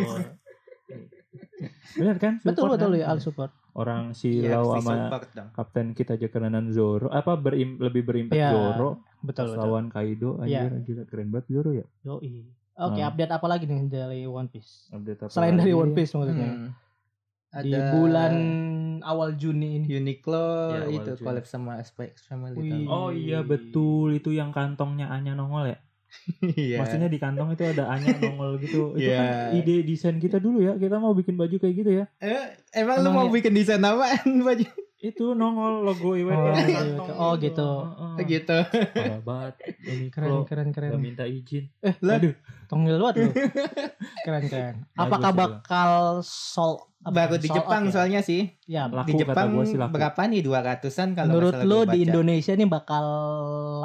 benar kan
betul
Support
betul
kan?
ya al support
orang si
Iya,
Lau
harus
sama
disupport dong.
kapten kita aja kerenan Zoro apa berim, lebih berimpak
Iya,
Zoro
betul
pas
betul
lawan Kaido anjir
Iya.
gila keren banget Zoro ya
Yoi. oke
Hmm.
update apa lagi nih dari One Piece
update apa
selain dari
lagi?
One Piece maksudnya
Hmm.
di
Ada
bulan Iya, awal Juni ini
Uniqlo
Ya, awal
itu
Juni.
collab sama SPX Family
Wih.
tahun-
oh iya betul itu yang kantongnya Anya nongol ya
Iya.
maksudnya di kantong itu ada Anya nongol gitu itu
Iya.
kan ide desain kita dulu ya kita mau bikin baju kayak gitu ya
Eh, emang lu
Emang
mau
ya- Hmm.
bikin desain apaan baju
itu nongol logo IWT
Oh,
di
iya,
kantong
iya. Oh,
gitu.
gitu.
Heeh.
gitu?
Parah banget ini
keren
keren
keren keren
Gak minta izin
Lah,
aduh
Tongil banget lu. Keren keren. Apakah
Bagus itu.
bakal sol apa,
baru di
sold out
Jepang
ya?
soalnya sih.
Ya,
laku
Di Jepang
kata gue sih laku
berapa nih 200-an kalau
menurut
nggak salah
lu
gua
di
baca.
Indonesia nih bakal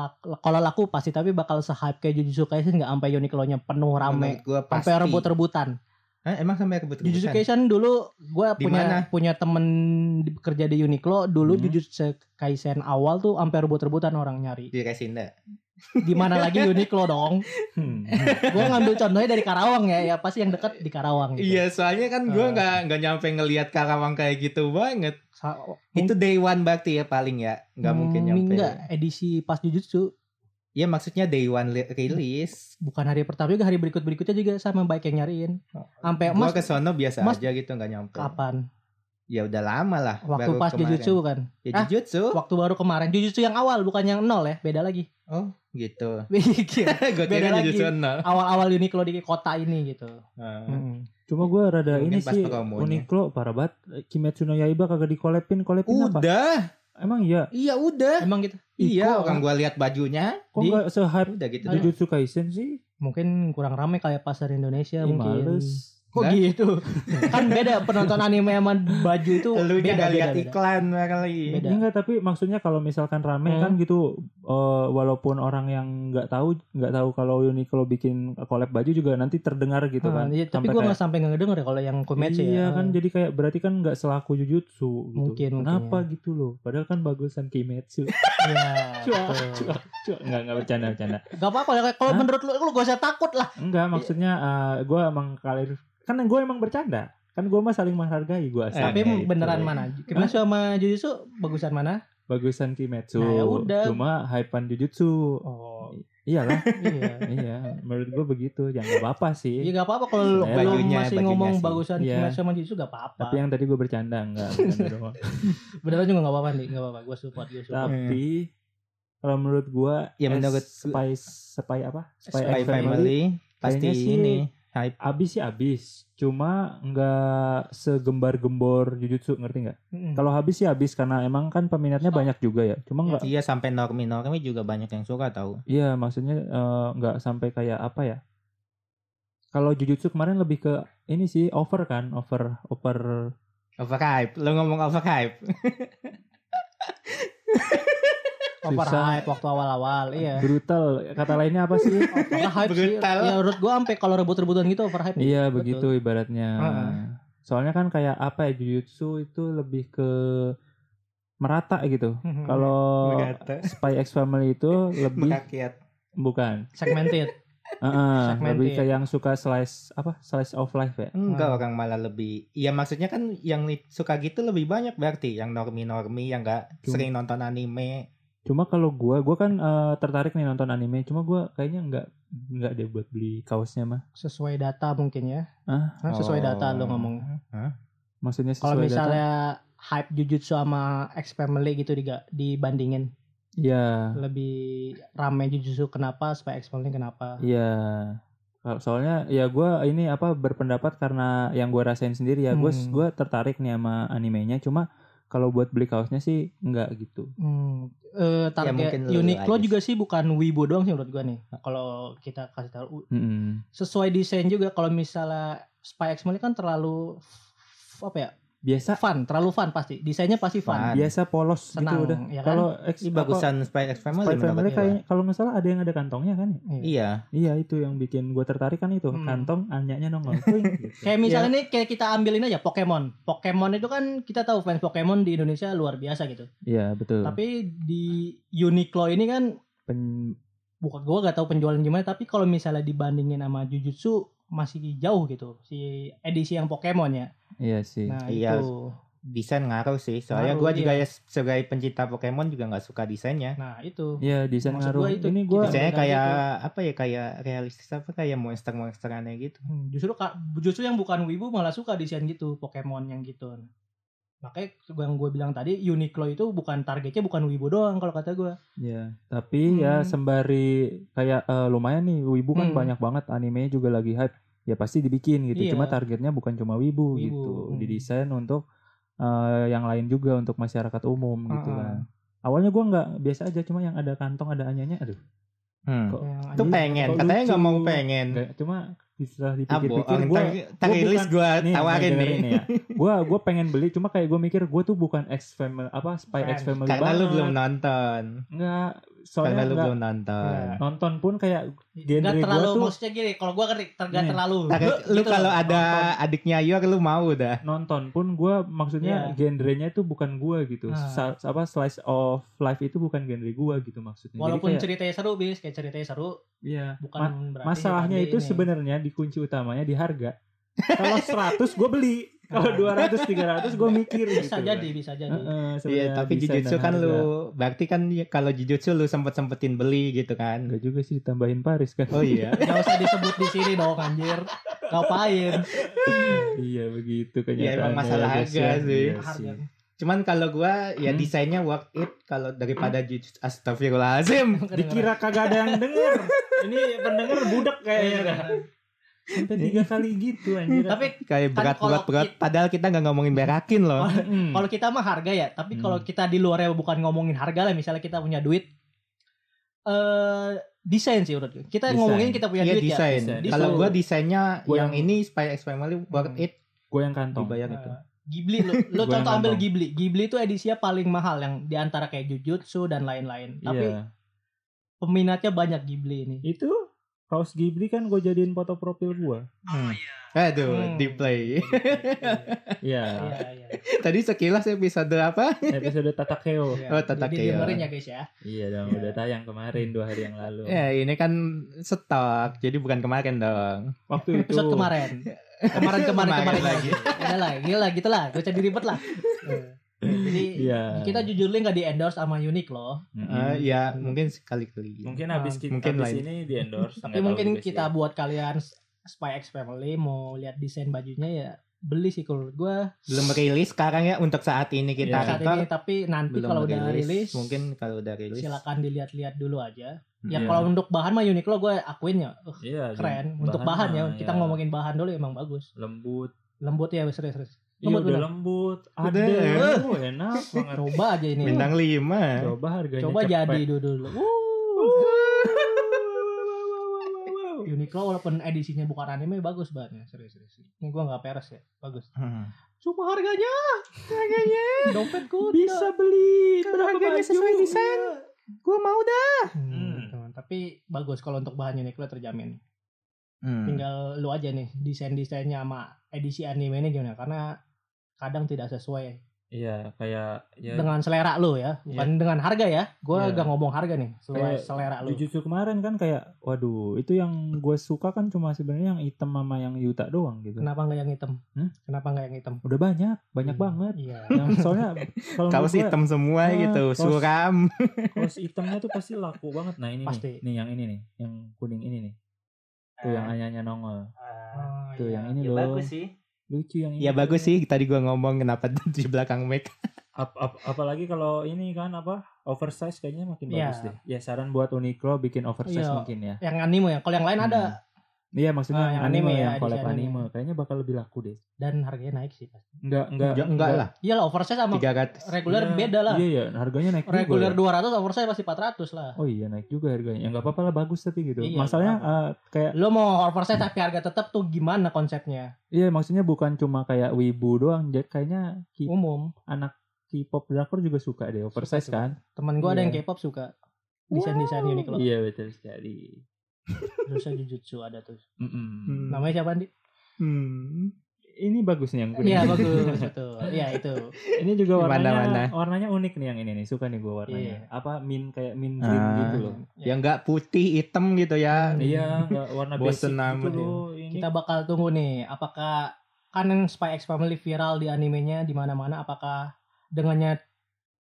lak- kalau laku pasti tapi bakal se-hype kayak Jujutsu Kaisen nggak sampai Uniqlo-nya penuh rame
Menurut gua pasti.
sampai rebut-rebutan.
Hah, emang sampai rebut
Jujutsu Kaisen dulu gua
Di
punya
mana?
punya temen di- kerja di Uniqlo dulu
Hmm.
Jujutsu Kaisen awal tuh sampai rebut-rebutan orang nyari.
di Resinda.
Di mana lagi Uniqlo dong?
Hmm.
Gua ngambil contohnya dari Karawang ya, ya pasti yang deket di Karawang gitu.
Iya, soalnya kan gua
Eh.
nggak nggak nyampe ngelihat Karawang kayak gitu banget.
Sa- oh,
Itu day one berarti ya paling ya. Nggak mungkin
Hmm,
nyampe.
Enggak, edisi pas Jujutsu
Iya, maksudnya day one li- rilis.
bukan hari pertama juga hari berikut-berikutnya juga sama baik yang nyariin. Sampai
Oh, Gua
Mas
ke sono biasa
Mas-
aja gitu nggak nyampe.
kapan?
Ya udah lama lah.
Waktu
baru
pas
kemarin.
Jujutsu kan.
Ya
Ah.
Jujutsu.
Waktu baru kemarin Jujutsu yang awal bukan yang nol ya, beda lagi.
Oh, gitu. Gue
Beda
kira
lagi.
Jujutsu nol.
Awal-awal Uniqlo di kota ini gitu.
Heeh.
Mm.
Cuma gue rada
Mungkin
ini
pas
sih
promonya.
Uniqlo parah banget. Kimetsu no Yaiba kagak dikolepin, kolepin apa?
Udah,
Emang iya.
iya udah.
Emang gitu.
Iya,
Iko,
orang gua lihat bajunya
Kok
Di-
nggak se-hype
udah gitu. doang.
Jujutsu Kaisen sih?
Mungkin kurang rame kayak pasar Indonesia Ya,
Ih,
mungkin.
males.
Kok
Lah?
gitu? kan beda penonton anime sama baju itu
Lu nya
beda
nggak lihat iklan kali.
Beda.
Iya enggak, tapi maksudnya kalau misalkan rame
Hmm.
kan gitu eh, walaupun orang yang nggak tahu nggak tahu kalau Uniqlo bikin collab baju juga nanti terdengar gitu
Ah,
kan.
iya, tapi
Sampai
gua
kayak-
nggak sampai nggak denger ya kalau yang Kometsu
Iya
ya.
kan jadi kayak berarti kan nggak selaku Jujutsu gitu.
Mungkin, mungkin,
Kenapa
ya.
gitu loh? Padahal kan bagusan Kimetsu.
Iya,
Cuak,
betul.
cuak, cuak. Enggak enggak bercanda bercanda.
Gak apa-apa kalau- kalau
Hah?
menurut lu lu gak usah takut lah.
Enggak maksudnya gue emang kalir kan gue emang bercanda kan gue mah saling menghargai gue
Eh,
Tapi
iya,
gitu.
beneran mana? Kimetsu sama Jujutsu bagusan mana?
bagusan Kimetsu
Nah, ya udah.
cuma hypean Jujutsu
Oh,
iyalah
iya.
iya menurut gue begitu ya nggak apa-apa
Ya
sih
gak apa-apa kalau lu,
Sebenarnya
lu
bajunya-
masih
bajunya
ngomong
sih.
bagusan
Iya.
Kimetsu sama Jujutsu gak apa-apa.
tapi yang tadi gue bercanda enggak bercanda doang.
Beneran juga gak apa-apa nih, gak apa-apa. Gue support, gue support.
tapi kalau menurut gue
Ya, menurut-
spy spy apa
Spy
spy, X family
Family pasti
Kayaknya sih-
ini hype.
abis sih abis cuma nggak segembar-gembor Jujutsu ngerti nggak
Mm.
kalau habis sih habis karena emang kan peminatnya banyak juga ya cuma nggak
Iya sampai normi normi juga banyak yang suka tahu.
Iya, maksudnya eh, nggak sampai kayak apa ya? Kalau Jujutsu kemarin lebih ke ini sih over kan, over over
Overhype, lu ngomong overhype.
Overhype waktu awal-awal, iya.
brutal. Kata lainnya apa sih?
Overhype sih.
Brutal.
Ya menurut gue sampai kalau rebut-rebutan gitu overhype.
iya,
Betul.
begitu ibaratnya.
Heeh.
Soalnya kan kayak apa ya Jujutsu itu lebih ke merata gitu.
Mhm.
Kalau
Berkata.
Spy X Family itu lebih
Merakyat.
bukan,
Segmented.
Heeh,
Segmented.
lebih ke yang suka slice apa slice of life ya.
Enggak
Hmm.
orang malah lebih. Iya maksudnya kan yang li- suka gitu lebih banyak berarti yang normi normi yang enggak
Cuma-
sering nonton anime.
Cuma kalau gua gua kan eh, tertarik nih nonton anime, cuma gua kayaknya nggak nggak deh buat beli kaosnya mah.
Sesuai data mungkin ya.
Hah?
Hah, Sesuai
Oh.
data lo ngomong.
Maksudnya sesuai
Kalau
data?
misalnya hype Jujutsu sama X Family gitu diga- dibandingin
Iya,
lebih rame Jujutsu kenapa supaya X Family kenapa?
iya. Kalau- Soalnya ya gua ini apa berpendapat karena yang gua rasain sendiri ya. Gua
Hmm.
gua tertarik nih sama animenya, cuma kalau buat beli kaosnya sih nggak gitu.
Hmm, eh,
Ya,
target
mungkin lu
Uniqlo
aja
juga sih bukan Wibo doang sih menurut gua nih. Nah, Kalau kita kasih tahu u-
Mm-mm.
sesuai desain juga kalau misalnya Spy X Family kan terlalu f- apa ya?
biasa
fun terlalu fun pasti desainnya pasti fun
Fun.
biasa polos
Kan. Senang,
gitu udah.
ya kan?
Kalau X
Ini
apa,
bagusan Spy
ya,
X
Spy
Family
Family
menurut
kayaknya kalau nggak salah ada yang ada kantongnya kan? ya?
Iya.
Iya itu yang bikin gue tertarik kan itu
Hmm.
kantong anyanya nongol. Kuing, gitu.
kayak misalnya nih kayak kita ambilin aja Pokemon Pokemon itu kan kita tahu fans Pokemon di Indonesia luar biasa gitu
Iya betul.
tapi di Uniqlo ini kan
Pen-
bukan gua gak tahu penjualan gimana tapi kalau misalnya dibandingin sama Jujutsu masih jauh gitu si edisi yang Pokemon ya
iya sih.
nah
Iya.
itu
Desain ngaruh sih. Soalnya
Ngaruh,
gue juga ya
iya.
sebagai pencinta Pokemon juga nggak suka desainnya.
nah itu
Iya desain
Maksud
ngaruh.
gua itu
Ini gue
Nah,
Desainnya
benar
kayak apa ya kayak realistis apa kayak monster-monster aneh gitu.
Hmm, justru ka- justru yang bukan wibu malah suka desain gitu Pokemon yang gitu makanya yang gue bilang tadi Uniqlo itu bukan targetnya bukan wibu doang kalau kata gue
Ya, tapi ya
Hmm.
sembari kayak eh, lumayan nih Wibu kan
Hmm.
banyak banget animenya juga lagi hype. Ya pasti dibikin gitu.
Iya.
Cuma targetnya bukan cuma Wibu,
Wibu,
gitu.
hmm.
Didesain untuk eh, yang lain juga untuk masyarakat umum gitu
Ah,
kan. Awalnya gua nggak biasa aja cuma yang ada kantong ada anyanya aduh.
Hmm.
Kok-
Yang
Itu
anjing-
pengen,
kok
katanya nggak mau
lucu.
pengen. Ah,
nggak- cuma setelah
Abo,
dipikir-pikir
orang
gua
rilis gue
nih,
tawarin
dengerin
nih.
nih ya. Gua gua pengen beli cuma kayak gue mikir gue tuh bukan X family apa spy X
Fan.
family
Karena lu
banget.
belum nonton.
Enggak, soalnya
Karena lu
nggak- iya.
belum nonton.
Nggak.
nonton pun kayak
Nggak
kan genre gua
terlalu
tuh-
maksudnya gini kalau gue ngerti nggak
Nih.
terlalu
Target-
Gitu
lu
loh.
kalau ada adiknya Ayor lu mau dah.
nonton pun gue
Iya.
maksudnya genrenya itu bukan gue gitu
Ah.
Sa- apa slice of life itu bukan genre gue gitu maksudnya Jadi
walaupun
kayak-
ceritanya seru bis kayak ceritanya seru
iya.
bukan
Ma-
berarti
masalahnya
Barbie
itu
ini.
sebenarnya di kunci utamanya di harga kalau 100 gue beli
Ah.
kalau 200 300 gue mikir gitu
bisa jadi bisa jadi
Heeh, sebenarnya
Iya, tapi
desain
Jujutsu
dan
kan
harga.
lu berarti kan ya kalau Jujutsu lu sempet-sempetin beli gitu kan.
Enggak juga sih ditambahin Paris kan
Oh iya.
nggak usah disebut di sini dong anjir ngapain
iya begitu
Iya,
kenyataannya
emang masalah
guys,
harga
ya.
sih.
Iya
harga
Cuman kalau gua ya
Hmm.
desainnya worth it kalau daripada Jujutsu Astagfirullahalazim.
dikira ya. kagak ada yang denger ini pendengar budak
Iya,
kayaknya
Iya,
dah. Sampai tiga kali gitu anjir
tapi
Kayak
Kan
berat
kalau
berat berat
kit-
padahal kita nggak ngomongin berakin loh.
Mm.
Kalau kita mah harga ya, tapi
Hmm.
kalau kita di luarnya bukan ngomongin harga lah, misalnya kita punya duit, eh desain sih menurut gue. Kita
Desain.
ngomongin kita punya
Iya
duit ya.
desain.
desain.
Kalau
Desain.
gua desainnya
Gua
yang
yang- Oh.
ini Spy X Family worth
Hmm.
it
gue yang kantong
dibayar
Eh,
itu.
Ghibli lu, lu
Gua yang
contoh ambil
kantong.
Ghibli. Ghibli itu edisinya paling mahal yang diantara kayak Jujutsu dan lain-lain. Tapi
Iya.
peminatnya banyak Ghibli ini.
itu kaos Ghibli kan gue jadiin foto profil gue
Hmm. Aduh,
Hmm.
di play.
Iya
Iya, iya.
Tadi sekilas episode apa?
episode Tatakeo
Iya.
Oh, tetap
Jadi
ya.
dengerin ya guys ya.
iya
Iya.
dong udah tayang kemarin dua hari yang lalu
Ya ini kan stok, jadi bukan kemarin dong.
waktu itu
Episode kemarin. Kemarin kemarin kemarin lagi. Ada lagi, gila gitu lah. Gue jadi ribet lah. Eh, Jadi
Iya.
kita jujurnya nggak di endorse sama Uniqlo.
Mm-mm.
Ah,
Eh,
iya.
ya mungkin sekali-kali. Ah,
Mungkin habis kita
Mungkin
habis
lain.
ini di endorse.
Tapi Ya, mungkin kita buat kalian s- Spy X Family mau lihat desain bajunya ya beli sih kalau menurut gue
Belum rilis sekarang ya untuk saat ini kita
Iya.
saat
rekor.
ini tapi nanti
Belum
kalau udah rilis,
mungkin kalau udah rilis.
silakan dilihat-lihat dulu aja. Ya
Iya.
kalau untuk bahan mah Uniqlo gue akuin ya uh,
Iya,
keren. untuk bahan ya kita
iya.
ngomongin bahan dulu emang bagus.
lembut.
Lembut ya serius-serius.
Iya
Lembut,
udah
bener.
lembut ada
Udah.
Oh, enak banget
Coba aja ini.
Bintang 5.
coba harganya
Coba
cepet.
jadi dulu dulu. Uniqlo walaupun edisinya bukan anime bagus banget ya serius-serius. Ini gue nggak peres ya bagus.
Hmm.
Cuma harganya,
Harganya
dompetku
bisa beli
Kan
Kalau
berapa
harganya
baju
sesuai desain. Gua mau dah.
Hmm,
Hmm.
Tapi bagus kalau untuk bahan Uniqlo terjamin.
Hmm.
Tinggal lu aja nih desain-desainnya sama edisi anime ini gimana karena kadang tidak sesuai
Iya, kayak ya
dengan selera lu ya, bukan dengan harga ya. Gua
Iya.
gak ngomong harga nih, sesuai
Kayak
selera lu.
Jujutsu kemarin kan kayak waduh itu yang gue suka kan cuma sebenarnya yang hitam sama yang yuta doang gitu
Kenapa nggak yang hitam?
Hmm?
Kenapa nggak yang hitam?
udah banyak banyak
Hmm,
banget
Nah. Iya.
yang soalnya kalau
Hmm. Kaos
menurut gua,
hitam semua
Ah,
gitu,
kaos-
suram.
kaos hitamnya tuh pasti laku banget nah ini
Pasti. Eh.
nih nih yang ini nih yang kuning ini nih tuh yang anyanya nongol
Oh,
tuh
iya.
yang ini loh
sih.
lucu yang ini
Ya bagus sih tadi gua ngomong kenapa di belakang mic.
Ap- ap- apalagi kalau ini kan apa oversize kayaknya makin
Iya.
bagus deh ya saran buat Uniqlo bikin oversize
Iya.
mungkin ya
Yang anime ya. Kalau yang lain ada
Iya maksudnya
Ah,
yang
yang
anime,
anime ya,
yang collab
edisi
anime.
anime.
Kayaknya bakal lebih laku deh.
dan harganya naik sih pasti.
Enggak, enggak.
Ja- enggak lah
Iya lah oversize sama
tiga ratus
reguler
Iya,
beda lah.
Iya, iya, harganya naik juga
reguler
ya.
200 oversize pasti 400 lah.
Oh iya, naik juga harganya. Ya enggak apa-apa lah bagus tapi gitu.
Iya,
Masalahnya
nggak
eh, kayak
Lo mau oversize tapi harga tetap tuh gimana konsepnya?
iya maksudnya bukan cuma kayak wibu doang, jadi kayaknya K-
Umum.
anak K-pop drakor juga suka deh
Um. Suka,
oversize
suka.
kan?
Temen gue ada
Iya.
yang K-pop suka desain-desain
Wow.
Uniqlo.
Iya, betul sekali.
Terusnya Jujutsu ada tuh.
Mm-mm.
Namanya siapa Andi?
hmm.
Ini bagus nih yang kuning.
Iya bagus betul. Iya itu.
Ini juga
Di
warnanya
mana-mana.
warnanya unik nih yang ini nih. Suka nih gue
Iya.
warnanya. Apa min kayak min green
Ah.
gitu loh.
ya enggak putih hitam gitu ya
Iya, nggak warna
Bosen
basic
amat
gitu
ya.
loh. Ini
Kita bakal tunggu nih apakah kan Spy X Family viral di animenya di mana-mana apakah dengannya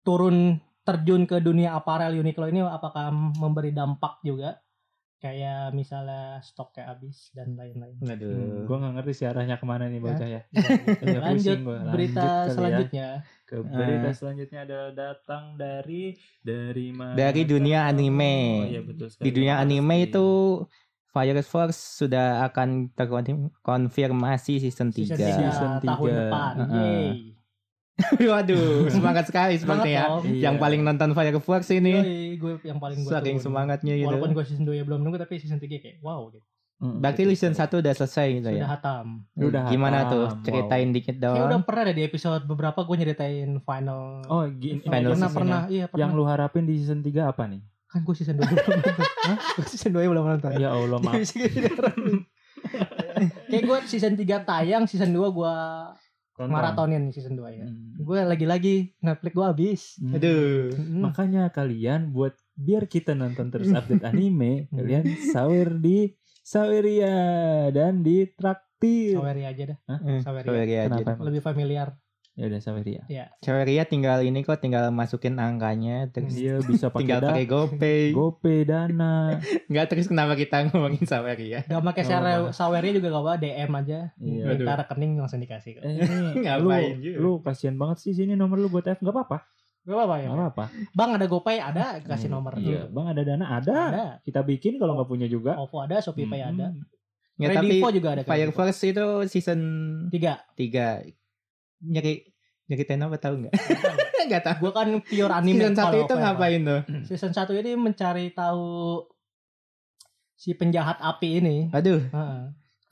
turun terjun ke dunia aparel Uniqlo ini apakah memberi dampak juga kayak misalnya stoknya habis dan lain-lain.
Hmm. Aduh.
gue Hmm, nggak ngerti sih arahnya kemana nih bocah ya. Agak
Lanjut
pusing gua.
berita
kali ya.
selanjutnya.
Ke
Ah.
berita selanjutnya adalah datang dari dari mana?
Dari dunia
tahu.
anime.
Oh, iya betul sekali.
di dunia
Harus
anime
di-
itu Fire Force sudah akan terkonfirmasi season 3.
Season
tiga. Season
3 tahun
tiga.
depan.
Heeh.
Yeay.
Waduh, semangat sekali
Semangat
sepertinya.
dong.
Iya.
Yang paling nonton Fire Force ini
Yoi, gue yang iya, paling gue
saking semangatnya gitu.
Walaupun gue season 2 ya belum nunggu tapi season 3 kayak wow gitu.
Mm,
Berarti
betul
season 1
sekali.
udah selesai gitu
Sudah
ya.
hatam.
Udah ah,
Gimana
hatam.
tuh?
Wow.
Ceritain dikit
Kayak udah
dong.
pernah ada di episode beberapa gue nyeritain final.
Oh, gini.
Final
pernah
pernah,
season-nya.
pernah. Iya
Yang
pernah.
lu harapin di season 3 apa nih?
Kan gue season 2 belum nonton. Hah? Gue season 2 belum nonton. Iya,
Ya Allah, maaf.
Kayak gue season 3 tayang, season 2 gue
Tonton.
maratonin season 2 ya.
Mm.
Gue lagi-lagi Netflix gue habis.
Mm.
Aduh.
Mm.
Makanya kalian buat biar kita nonton terus update anime, kalian sahur di Saweria dan di Traktir.
Saweria aja dah.
Eh,
Saweria.
Saweria aja.
Kenapa emang?
Lebih familiar.
Ya udah Saweria.
Saweria tinggal ini kok tinggal masukin angkanya
Iya.
terus
Dia bisa pakai
tinggal
da-
pakai GoPay.
GoPay Dana.
Enggak terus kenapa kita ngomongin Saweria?
Gak pakai
Gak
share
apa-apa.
Saweria juga gak apa DM aja.
Iya.
Minta rekening langsung dikasih kok.
Eh, ini lu,
Ngapain juga?
lu kasihan banget sih sini nomor lu buat F nggak apa-apa
Gak apa-apa ya.
nggak apa-apa
Bang ada GoPay ada kasih
Hmm,
nomor.
iya bang ada dana ada
Ada.
kita bikin kalau nggak punya juga
OVO ada, Shopee Pay
Hmm.
ada.
Ya, tapi
Kredivo juga gitu. ada.
Fire
Kredivo.
Force itu season
Tiga.
3 nyari nyari apa tahu nggak? Nggak tahu.
Gue kan pure anime.
Season satu
kalau
itu
Fire
ngapain tuh?
Force. Season satu ini mencari tahu si penjahat api ini.
Aduh,
Heeh.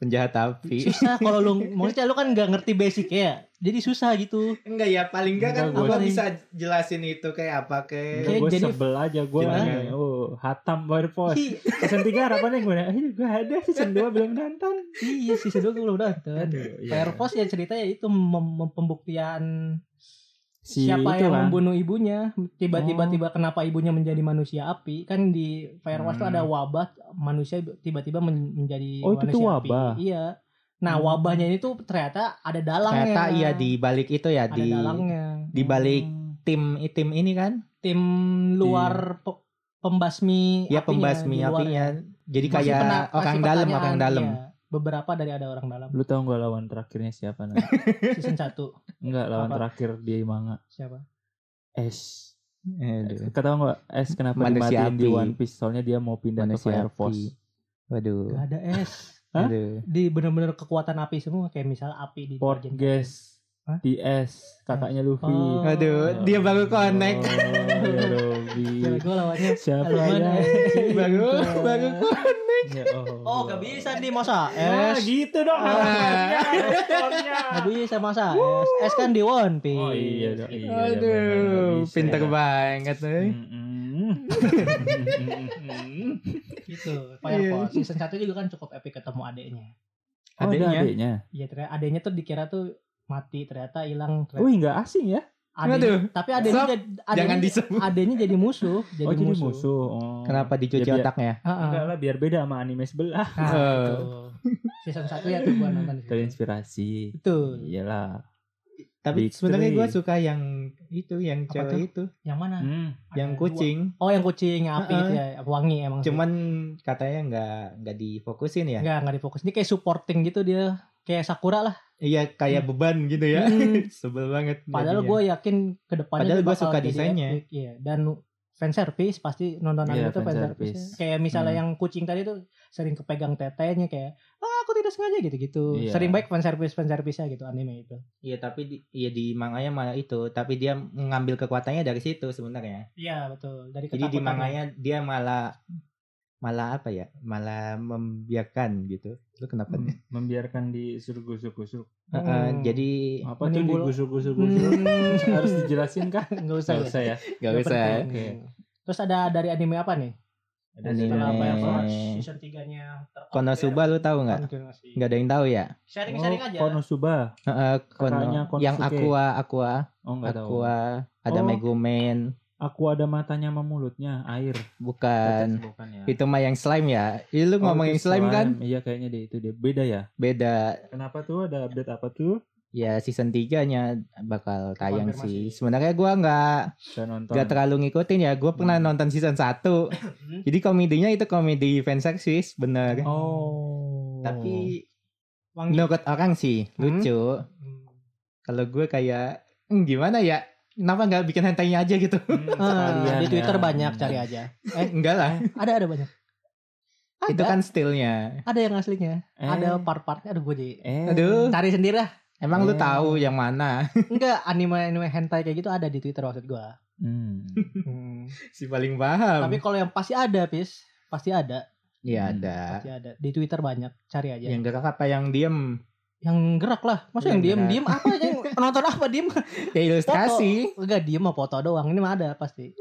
penjahat api.
Susah kalau lu maksudnya lu kan nggak ngerti basic ya. Jadi susah gitu.
Enggak ya, paling nggak kan
Enggak,
gua
gua-
bisa jelasin itu kayak apa kayak
Kayak
gue
jadi-
sebel aja gue
Gimana?
oh, hatam baru pos
Hi-
season 3 harapannya gue eh gue ada season 2 belum nonton
iya season 2 gue belum nonton.
iya.
Fire Force ya ceritanya itu mem- mem- pembuktian
Si
siapa
itu
yang
kan.
membunuh ibunya tiba-tiba
Oh.
tiba kenapa ibunya menjadi manusia api kan di Firewatch tuh
Hmm.
ada wabah tiba-tiba tiba-tiba men- menjadi
Oh, itu
manusia
tuh
api.
wabah.
iya nah
Hmm.
wabahnya ini tuh ternyata ada dalangnya
ternyata iya di balik itu ya
ada
di
dalangnya Hmm.
di balik tim tim ini kan?
tim luar pe- pembasmi
Ya
apinya,
pembasmi
di luar. ya.
apinya. Jadi
Masih
kayak
pena- masih
orang dalam,
pertanyaan,
orang dalam.
iya. beberapa dari ada orang dalam
lu tau gak lawan terakhirnya siapa nah?
season 1
enggak lawan
Apa?
terakhir di manga
siapa
Ash
Aduh.
kata gak Ash kenapa
Manusia
dimatiin di
api.
One Piece soalnya dia mau pindah
Manusia
ke Fire
api.
Force
Waduh.
Gak ada es
Hah?
Aduh.
di bener-bener kekuatan api semua kayak misalnya api di
Port
bagian-
Guys
Hah?
DS kakaknya Luffy
Oh.
Aduh, dia baru connect.
Oh, ya Robby.
Gila, gue lawannya
Siapa
Aluman,
yang
eh.
baru Oh, baru
Ya,
Oh, gak bisa nih masa
Eh,
Ah,
es.
gitu dong
Iya,
Ah.
responnya, responnya.
Gak bisa masa es. Es kan di One Piece.
Oh iya dong. Iya, memang
Aduh,
gak bisa. ya.
pinter banget eh.
Mm-mm.
Gitu.
Iya.
Fire Force season 1 juga kan cukup epic ketemu adeknya.
Oh, ada
Adeknya.
adeknya.
Iya, ternyata adeknya tuh dikira tuh mati ternyata hilang.
Wih, nggak asing ya?
Aduh.
Adeknya- tapi adeknya
Sob,
jadi
Jangan
adeknya,
disebut.
adeknya jadi musuh, jadi
oh, jadi
musuh.
musuh. Oh.
Kenapa dicuci
Ya, biar-
otaknya?
Heeh.
Enggak lah, biar beda sama anime sebelah.
Nah,
Eh.
gitu. Season 1 ya tuh gua nonton di situ.
Terinspirasi.
Betul.
Iyalah.
Tapi
Big
sebenarnya
three.
gue suka yang itu, yang
Apa
cewek
tuh?
itu,
Yang mana?
Hmm.
Ada
yang
dua.
kucing.
Oh, yang kucing yang api
Heeh.
itu ya, wangi emang. sih.
Cuman katanya nggak nggak difokusin ya.
Enggak, enggak difokus. Ini kayak supporting gitu dia. Kayak Sakura lah.
Iya kayak beban gitu ya.
Hmm.
Sebel banget.
Padahal
jadinya.
gue yakin
ya.
kedepannya
Padahal
dia
gua
bakal
suka
jadi
desainnya.
epic, Iya. Dan fan service pasti nonton anime
Iya,
itu fan
fan
service.
service.
Kayak misalnya
Hmm.
yang kucing tadi tuh sering kepegang tetenya kayak ah aku tidak sengaja gitu-gitu.
Iya.
Sering baik fan service fan service-nya gitu anime itu.
Iya tapi di, iya di manganya malah itu, tapi dia ngambil kekuatannya dari situ sebenarnya.
Iya, betul. Dari
Jadi di
ketakutan.
manganya dia malah malah apa ya? Malah membiarkan gitu. Lu kenapa?
Mem- membiarkan digusuk-gusuk.
Eh, eh,
Hmm.
jadi
Apa
Menimbul-
tuh digusuk-gusuk-gusuk?
Hmm.
Harus dijelasin kah?
Enggak usah.
Nggak
ya?
usah ya.
gak
Nggak
bisa.
penting.
oke.
Terus ada dari anime apa nih?
Ada ya,
Anime.
Setelah
sih.
Firewatch
Eh.
season 3-nya
Konosuba lu tahu nggak? Nggak ada yang tahu ya.
Sharing-sharing
Oh,
aja.
Konosuba.
Eh, eh, kono,
Kakaknya Konosuke.
yang aqua aqua
Oh, enggak tahu.
aqua ah, ada
Oh.
megumen
Aku ada matanya sama mulutnya, air.
bukan
bukan ya.
itu mah yang slime ya. Ih, lu
Oh,
ngomong
itu
yang slime kan?
Iya, kayaknya deh itu deh. Beda ya.
Beda.
Kenapa tuh ada update apa tuh?
Ya season 3-nya bakal tayang sih.
Konfirmasi.
Sebenarnya gua nggak
Saya nonton.
Gak terlalu ngikutin ya. Gue pernah
Hmm.
nonton season 1.
Hmm.
Jadi komedinya itu komedi fanservice bener.
Oh.
Tapi
Wangi.
menurut orang sih
Hmm?
lucu.
Hmm.
Kalau gue kayak "Hmm, gimana ya? Kenapa nggak bikin hentainya aja gitu?
Hmm,
Ah,
sekalian
di
ya.
Twitter banyak cari aja.
Eh, enggak lah.
Ada ada banyak. Ada.
Itu kan stylenya.
ada yang aslinya.
Eh,
Ada part-partnya aduh gue jadi
eh,
Aduh,
cari sendiri lah.
emang lu
Eh.
tahu yang mana?
Enggak anime-anime hentai kayak gitu ada di Twitter maksud gua.
Hmm.
si paling paham.
Tapi kalau yang pasti ada, Pis. Pasti ada,
Hmm.
ya ada.
pasti ada. Di Twitter banyak, cari aja.
Yang gerak apa yang diem?
Yang gerak lah. Masa
Yang
yang
gerak.
diem-diem apa yang penonton apa diem?
Ya ilustrasi.
Enggak diem mah foto doang. Ini mah ada pasti.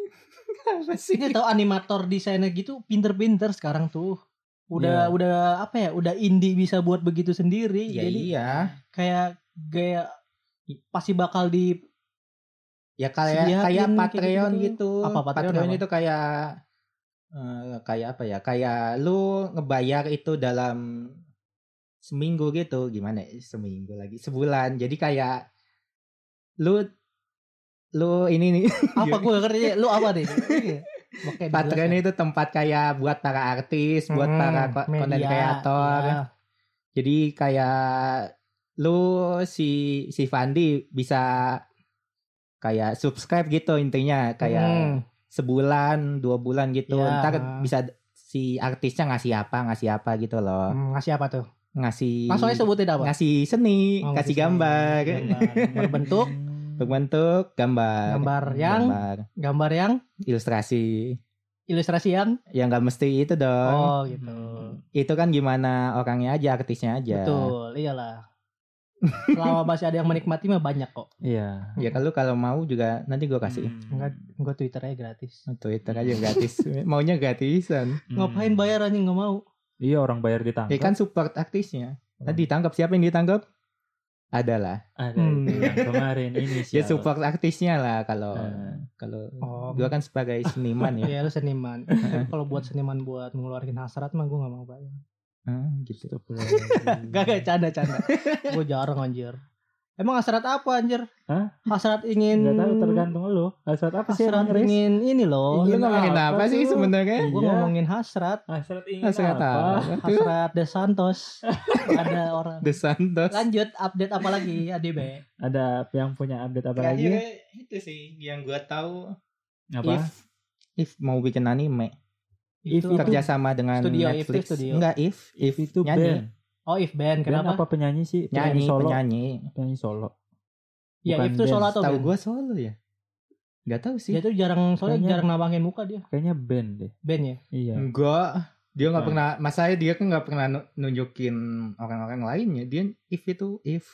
apa sih?
oh. Ini tahu animator desainnya gitu pinter-pinter sekarang tuh. Udah udah apa ya? Udah indie bisa buat begitu sendiri.
Iya. Ya
Jadi
iya.
kayak gaya pasti bakal di
Ya kayak
Sediain
kayak
kayak
Patreon
gitu-gitu.
gitu.
Apa Patreon apa?
itu kayak eh, kayak apa ya? Kayak lu ngebayar itu dalam seminggu gitu. Gimana? ya? Seminggu lagi, sebulan. Jadi kayak lu lu ini nih
apa gue ngerti Iya, lu apa deh Iya. Oke, Hmm,
Patreon itu tempat kayak buat para artis, buat para ko- content creator.
Ya. Iya.
Jadi kayak lu si si Fandi bisa kayak subscribe gitu intinya kayak
Hmm.
sebulan dua bulan gitu
Ya.
ntar bisa si artisnya ngasih apa ngasih apa gitu loh
Hmm, ngasih apa tuh
ngasih
langsung aja sebutin apa
ngasih seni kasih
Oh, ngasih
gambar
seni. Hmm. Gambar. berbentuk
berbentuk gambar
Gambar yang-
Gambar.
gambar yang
ilustrasi
ilustrasi yang
yang nggak mesti itu
Kan?
dong
oh gitu
Hmm.
Ya.
itu kan gimana orangnya aja artisnya aja
betul iyalah selama masih ada yang menikmati mah banyak kok
Iya.
ya kalau kalau mau juga nanti gua kasih
Hmm.
enggak gue twitternya
Hmm.
gratis
Nah, Twitter aja gratis maunya gratisan
Hmm.
ngapain bayar anjing nggak mau
Iya orang bayar
ya
ditangkap.
kan support artisnya tadi ditangkap siapa yang ditangkap adalah
Ada itu
Hmm.
yang kemarin ini
ya support artisnya lah kalau
Eh.
kalau
Oh.
gua kan sebagai seniman ya
ya lu seniman kalau buat seniman buat ngeluarin hasrat mah gue nggak mau bayar
Ah, gitu
Gak gak canda canda. gue jarang anjir. Emang hasrat apa anjir?
Hah?
Hasrat ingin.
Enggak tahu tergantung lu. Hasrat apa sih
Hasrat
emang, Riz?
ingin ini loh.
lu
Ingin
ngomongin
apa
apa, sih
tuh?
sebenarnya
Gue
Iya.
ngomongin hasrat.
Hasrat ingin
nggak
apa?
kata tuh
Hasrat De Santos. Ada orang.
The Santos
Lanjut update apa lagi ADB?
Ada yang punya update
Iya,
apa lagi?
Kayaknya itu sih yang gua tahu
Apa?
if if mau bikin anime
If
Itu
itu-
apa?
kerjasama dengan
Studio, if itu
Netflix
studio.
enggak if
If itu
nyanyi
band.
Oh if band
Band
kenapa?
apa penyanyi sih?
nyanyi
penyanyi solo.
penyanyi
Penyanyi solo.
Ya
Bukan
if tuh
band.
solo atau
tahu
band?
gua solo ya nggak tahu
Dia
sih
tuh Ya, jarang soalnya
Kayaknya-
jarang nabangin muka dia.
Kayaknya band deh.
Band ya. Nah.
Iya.
enggak dia nggak
Bukan.
pernah masanya dia kan nggak pernah nu- nunjukin orang-orang lainnya dia if itu if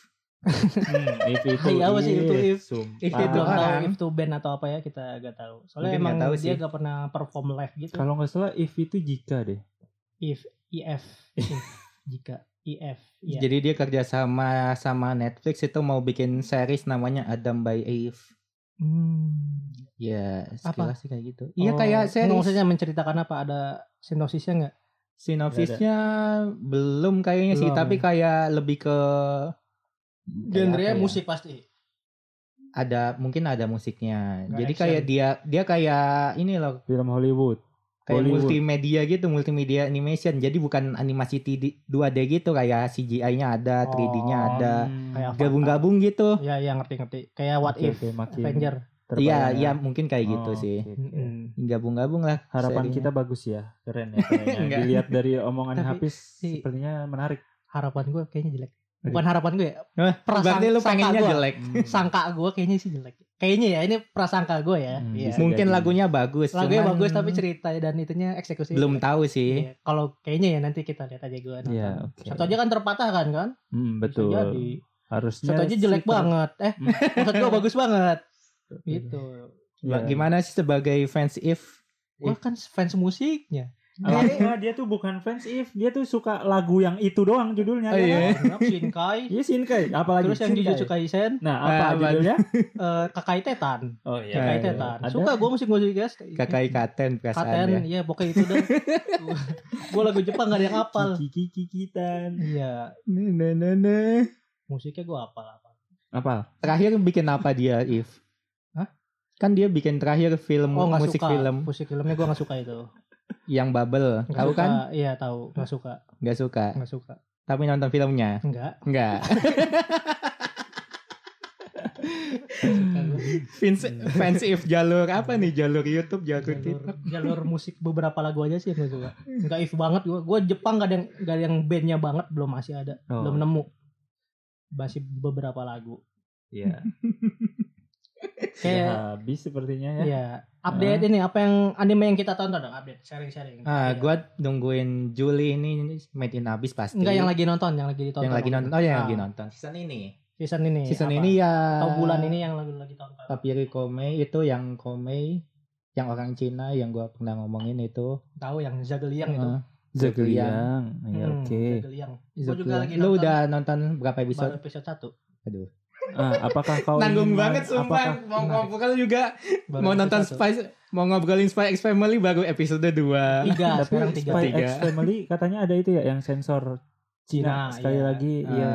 Hmm, if itu. Iya,
Hai, Iya, apa sih itu if?
sumpah.
If
Kita
itu
belum tahu
orang.
if tuh band atau apa ya kita gak tahu. Soalnya
Mungkin
emang
nggak tahu
dia
sih. Kan.
gak pernah perform live gitu.
Kalau nggak salah if itu jika deh.
If if jika if ya.
Jadi dia kerja sama sama Netflix itu mau bikin series namanya Adam by Eve.
Hmm.
Ya,
Apa?
sekilas sih kayak gitu. Iya
Oh,
kayak
nggak,
series.
Maksudnya menceritakan apa? Ada sinopsisnya nggak?
Sinopsisnya belum kayaknya sih,
Belum. ya.
tapi kayak lebih ke
Genre
kayak apa ya?
musik pasti.
Ada mungkin ada musiknya.
Nggak
Jadi
action.
kayak dia dia kayak ini loh,
Film Hollywood.
kayak
Hollywood.
multimedia gitu, multimedia animation. Jadi bukan animasi 3D 2D gitu kayak CGI-nya ada,
Oh,
3D-nya ada.
Kayak
hmm.
Gabung-gabung gitu.
Ya, ya ngerti ngerti. Kayak what
Oke,
if
oke, makin
Avenger.
Iya,
terbayang
iya
ya?
mungkin kayak gitu
Oh,
sih.
oke, oke.
Mm-mm.
Gabung-gabung lah.
Harapan
serinya.
kita bagus ya, keren ya. kayaknya.
Enggak.
Dilihat dari omongan
Tapi,
Hafiz,
i-
sepertinya menarik.
Harapan gue kayaknya jelek.
Aduh.
Bukan harapan gue ya.
Wah,
Perasaan-
Berarti lu
sangka
pengennya
gua.
jelek.
Hmm.
Sangka gue kayaknya sih jelek. Kayaknya ya ini prasangka gue ya.
Hmm,
Iya.
bisa.
Mungkin
jadi.
lagunya bagus.
Lagunya
cuman
bagus tapi cerita dan itunya eksekusi
belum tahu sih.
Iya, Kalau kayaknya ya nanti kita lihat aja gue nonton.
Iya, oke.
Satu aja kan terpatahkan kan? Bisa
Hmm, betul.
Jadi.
Harusnya
Satu aja
sih
jelek
ter-
banget. Eh,
Hmm.
maksud gue bagus banget. Gitu.
Iya.
Ba- Gimana sih sebagai fans if
Gue kan fans musiknya.
Ah, enggak, dia tuh bukan fans if, dia tuh suka lagu yang itu doang judulnya.
Oh, iya.
ya kan?
Shinkai.
Iya, Shinkai. Apalagi
Terus yang Ah,
Shinkai.
Jujutsu Kaisen,
Nah,
Eh,
apa
apa?
judulnya?
eh, Kakai Tetan.
Oh iya.
Kakai
Iya,
Tetan.
Ada.
Suka gue musik-musik guys.
kakak ikaten
Katen,
perasaan ya.
iya pokoknya itu dong. gue lagu Jepang gak ada yang apal.
Kiki Kikitan.
Iya,
Ne, ne, ne, ne.
musiknya gue apal apa.
Apa?
Terakhir bikin apa dia if?
Hah?
Kan dia bikin terakhir film
Oh nggak
musik
suka.
film
Musik filmnya gue nggak suka itu.
yang bubble.
Nggak
Tahu
suka.
kan?
Iya tahu. Nggak suka.
Nggak suka.
Nggak suka.
Tapi nonton filmnya.
Enggak.
Enggak.
Nggak
Hmm.
suka Kan gua.
Fans, fans if jalur apa nih? Jalur YouTube, jalur, TikTok.
Jalur, jalur musik beberapa lagu aja sih yang gue suka.
Hmm.
Nggak if banget gue. Gue Jepang gak ada yang gak ada yang bandnya banget belum masih ada.
Oh,
Belum nemu. Masih beberapa lagu.
Iya. Sudah
Kayak
habis sepertinya ya.
Iya. Update ini apa yang anime yang kita tonton dong update sharing-sharing.
Ah,
Iya.
gua nungguin Juli ini made in abis pasti.
Enggak yang lagi nonton, yang lagi ditonton.
Yang lagi nonton. Oh, yang lagi
Ah,
nonton. Season ini.
Season ini.
Season
apa?
ini ya
atau bulan ini yang lagi lagi tonton.
Papiri Komei itu yang Komei yang orang Cina yang gua pernah ngomongin itu.
Tahu yang Zageliang itu.
Eh,
Zageliang.
iya,
Ya,
Hmm,
oke.
Zageliang.
Zodiac.
juga lagi
Lu
nonton.
udah nonton berapa
Baru
episode?
episode 1.
Ah, apakah kau ingin- apakah-
Mau
menarik?
ngobrol juga Spice, mau ngobrolin Spice X Family baru episode 2.
3,
Tapi
sekarang 3.
Spy
Tiga.
X Family katanya ada itu ya yang sensor
Nah,
Cina
Cina,
sekali
iya.
lagi iya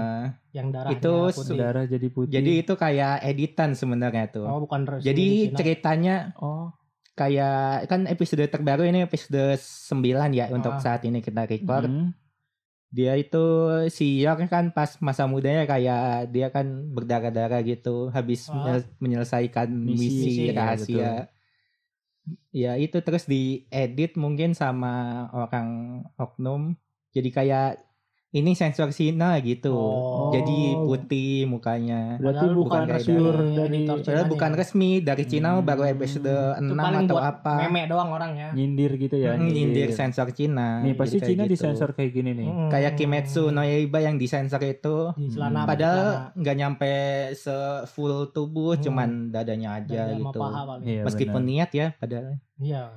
Yang darah
Itu
putih.
darah jadi putih.
Ah, Jadi itu kayak editan sebenarnya tuh.
Oh, bukan resmi
Jadi
di Cina.
ceritanya
oh
kayak kan episode terbaru ini episode 9 ya untuk
Ah. Mm-hmm.
saat ini kita record.
hmm.
Dia itu si York kan pas masa mudanya kayak dia kan berdarah-darah gitu habis
Ah.
menyel- menyelesaikan
Misi.
misi,
Misi.
rahasia. Ya itu terus diedit mungkin sama orang oknum. Jadi kayak ini sensor Cina gitu.
Oh.
Jadi putih mukanya.
berarti
Padahal
bukan
bukan
dari-
pure dari
editor Cina.
Padahal bukan
Ceritanya.
resmi dari Cina
Hmm.
baru episode
ya? Itu
6
paling
atau
buat
apa.
Meme doang orangnya.
nyindir gitu ya.
Hmm, Nyindir sensor Cina.
Nih pasti
Jadi kayak
Cina
gitu.
disensor kayak gini nih.
Hmm.
Kayak Kimetsu no Yaiba yang disensor itu
di celana apa
Hmm.
di
padahal nggak nyampe se full tubuh
Hmm.
cuman dadanya
celana.
aja
Dan sama
gitu.
paha paling.
Iya,
Meskipun
benar.
niat ya padahal.
Iya.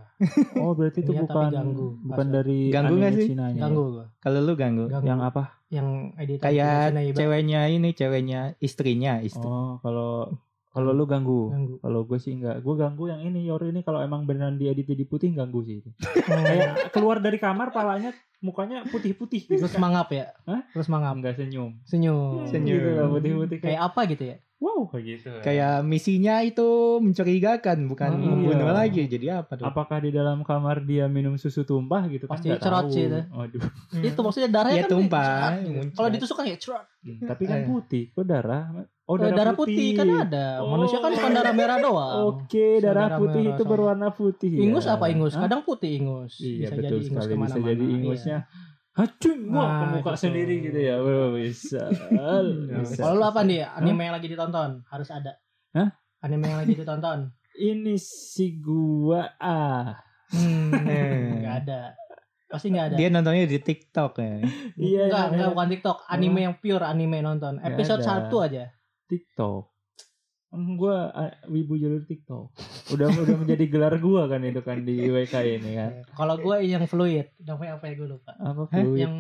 Oh berarti itu
Iya, tapi
bukan
ganggu.
bukan
Masuk.
dari
Ganggu nggak
anime
sih?
Cinanya ya?
Ganggu gua.
Kalau lu ganggu.
Ganggu.
Yang apa?
yang editor ya,
Kayak
Cina Iba.
ceweknya ini ceweknya istrinya istri.
Oh kalau kalau lu ganggu.
ganggu.
Kalau gue sih enggak, gue ganggu yang ini Yori ini kalau emang beneran diedit jadi putih ganggu sih.
Hmm.
Kayak keluar dari kamar palanya mukanya putih-putih gitu.
Terus mangap ya?
Hah?
Terus mangap.
Enggak senyum.
Senyum.
Senyum.
Gitu lah, putih-putih
Hmm.
kayak
Kayak apa gitu ya?
wow
Kayak gitu. ya.
Kayak misinya itu mencurigakan bukan
Hmm.
membunuh
Iya.
lagi. Jadi apa tuh?
Apakah di dalam kamar dia minum susu tumpah gitu kan?
Pasti
Nggak
cerot
tahu.
sih itu.
Aduh.
Itu maksudnya
Iya,
darahnya kan
tumpah,
cerak gitu.
muncrat.
Kalau ditusuk kan ya cerak.
Hmm, Tapi kan
Eh.
putih, kok darah? Oh,
Eh, darah putih. kan ada. Manusia kan cuma
Oh.
darah merah doang.
Oke, darah
Saudara
putih
merah
itu
sama-
berwarna putih. ya.
Ingus apa ingus?
Hah?
Kadang putih ingus.
Iya, betul sekali. Bisa
kemana-mana. Iya.
jadi ingusnya. Hacun, wah,
Nah,
kebuka
gitu.
sendiri gitu ya. Wah, bisa.
Iya.
Bisa.
Kalau lu apa nih? Anime yang lagi ditonton harus ada.
Hah?
Anime yang lagi ditonton.
Ini si gua ah.
Hmm, nggak ada. Pasti nggak ada.
ya. Dia nontonnya di TikTok ya.
Iya,
enggak,
namanya
enggak bukan TikTok, anime yang pure anime nonton.
Nggak
Episode
ada.
1 aja.
TikTok. Hmm, Gua ah, wibu jalur TikTok. Udah udah menjadi gelar gua kan itu kan di WK ini kan.
Kalau gue yang fluid, namanya apa ya gue lupa.
Apa
Hah?
Fluid?
Yang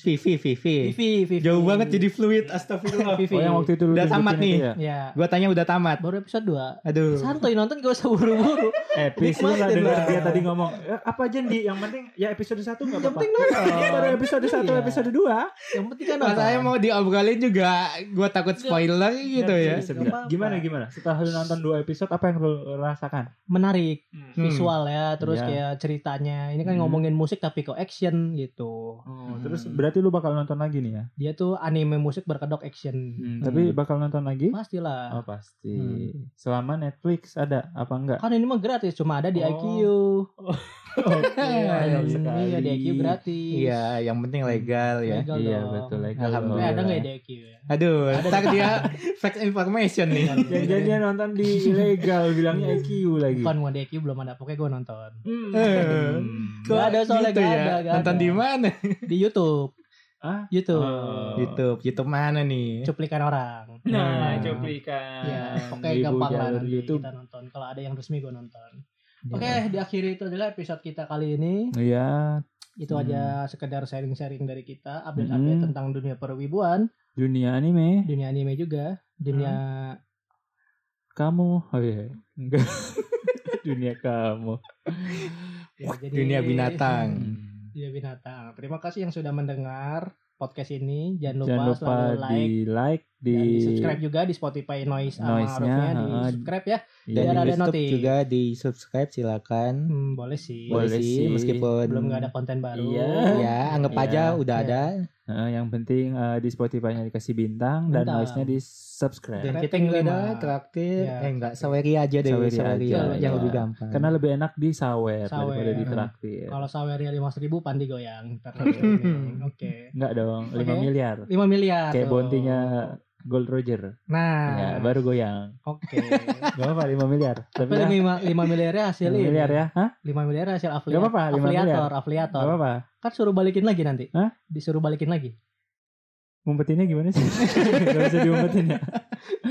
Vivi Vivi.
Vivi, Vivi.
Jauh banget jadi fluid astagfirullah.
Vivi.
Oh yang waktu itu lu
Udah
tunjukin
tamat
itu
nih.
ya?
Ya,
Gua tanya udah tamat.
baru episode 2.
Aduh.
Santai nonton gak usah buru-buru.
Eh, please lu
Nikmatin
gak denger
lah.
dia tadi ngomong. "Eh, apa aja di yang penting ya episode 1 enggak
Yang
apa-apa.
penting nonton.
Ini baru episode 1,
Iya.
episode 2.
Yang penting kan nonton.
Rasanya mau diobrolin juga gua takut spoiler gitu ya.
Iya, Nggak apa-apa.
Gimana gimana? Setelah lu nonton 2 episode apa yang lu rasakan?
menarik
Hmm.
visual ya, terus
Iya.
kayak ceritanya. Ini kan
Hmm.
ngomongin musik tapi kok action gitu.
Terus
Hmm.
Berarti lu bakal nonton lagi nih ya.
Dia tuh anime musik berkedok action.
Hmm.
Tapi bakal nonton lagi?
Pastilah.
Oh pasti.
Hmm.
Selama Netflix ada apa enggak?
Kan ini mah gratis, cuma ada di
Oh.
IQ.
Oke,
Hmm,
ayo sekali.
Iya, di IQ gratis.
iya yang penting legal ya
Hmm. Legal
Iya
dong.
betul. legal.
Tapi
Alhamdulillah.
ada nggak ya di IQ ya?
aduh ntar dia fact information nih
Jangan-jangan
ya?
dia nonton di ilegal bilangnya
Hmm.
IQ Iya, lagi.
Bukan gua di IQ belum ada, pokoknya gue nonton.
Eh,
Hmm.
kok
Nggak ada soalnya,
gitu
nggak
ya?
ada, nggak
nonton
ada.
di mana
Di YouTube.
Ah?
YouTube.
Oh.
Gitu.
YouTube YouTube mana nih
Cuplikan orang.
Nah,
Hmm.
Ah,
cuplikan.
Ya, pokoknya
Ibu
gampang lah
jalur
nanti
YouTube.
kita nonton. Kalau ada yang resmi gue nonton.
Ya.
Oke, diakhiri itu adalah episode kita kali ini.
Iya.
Itu
Hmm.
aja sekedar sharing-sharing dari kita, update-update
Mm-mm.
tentang dunia perwibuan,
Dunia anime.
dunia anime juga, dunia
Hmm. Kamu. Oh iya. Enggak. Dunia kamu.
ya, jadi-
dunia binatang
Dunia binatang. Terima kasih yang sudah mendengar podcast ini. Jangan lupa,
Jangan lupa
selalu
di
like
like di, iya,
dan di subscribe juga di Spotify Noise sama
Noise-nya,
Arufnya di
heeh.
subscribe ya.
Iya,
dan
Biar
di
ada
YouTube
notif.
juga di subscribe silakan
Hmm, boleh sih.
Boleh
boleh sih
sih.
meskipun
Belum nggak ada konten baru.
Iya.
ya anggap
Iya.
aja udah
Hmm. Iya.
ada
Heeh, yang penting eh, di Spotify-nya dikasih bintang, dan
Bintang.
noise-nya di subscribe.
dan
Rating
kita nggak ada
lima.
traktir
Iya,
eh enggak
traktir.
saweri aja deh
Saweri
saweri,
aja,
yang
iya.
lebih gampang
Karena lebih enak di sawer,
Sawer.
daripada di
Hmm.
traktir.
Kalau sawernya lima ribu, pan digoyang. Ntar
Oke.
digoyang. Oke.
Enggak dong, 5
Oke.
miliar.
5 miliar.
Kayak
tuh.
bontinya Gold Roger.
Nah,
Ya, baru goyang.
oke.
Gak apa-apa 5 miliar. Tapi
Tapi 5,
ya,
5 miliarnya hasil
5
ini.
miliar ya. Hah?
5 miliar hasil afiliat.
Gak apa-apa, lima miliar.
afiliator,
Gak
afiliator.
apa-apa.
Kan suruh balikin lagi nanti.
Hah?
Disuruh balikin lagi.
Ngumpetinnya gimana sih? Gak bisa diumpetin ya.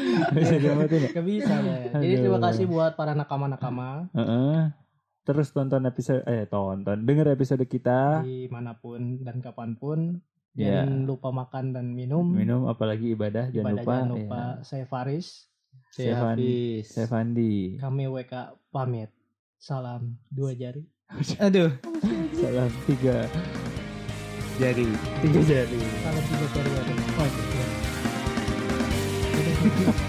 Gak bisa diumpetin ya.
Gak bisa ya. Jadi
Aduh.
terima kasih buat para nakama-nakama
Heeh. Terus tonton episode eh tonton, denger episode kita.
dimanapun dan kapanpun.
Ya.
Jangan lupa makan dan minum.
Minum apalagi ibadah jangan
Ibadah
lupa. iya. ya.
jangan lupa. Saya Faris.
saya
Stefan-
Hafiz.
Ya. Sevandi.
Kami WK pamit. Salam dua jari.
aduh
Salam tiga
jadi
tiga jari.
Salam tiga jari. Oh, iya.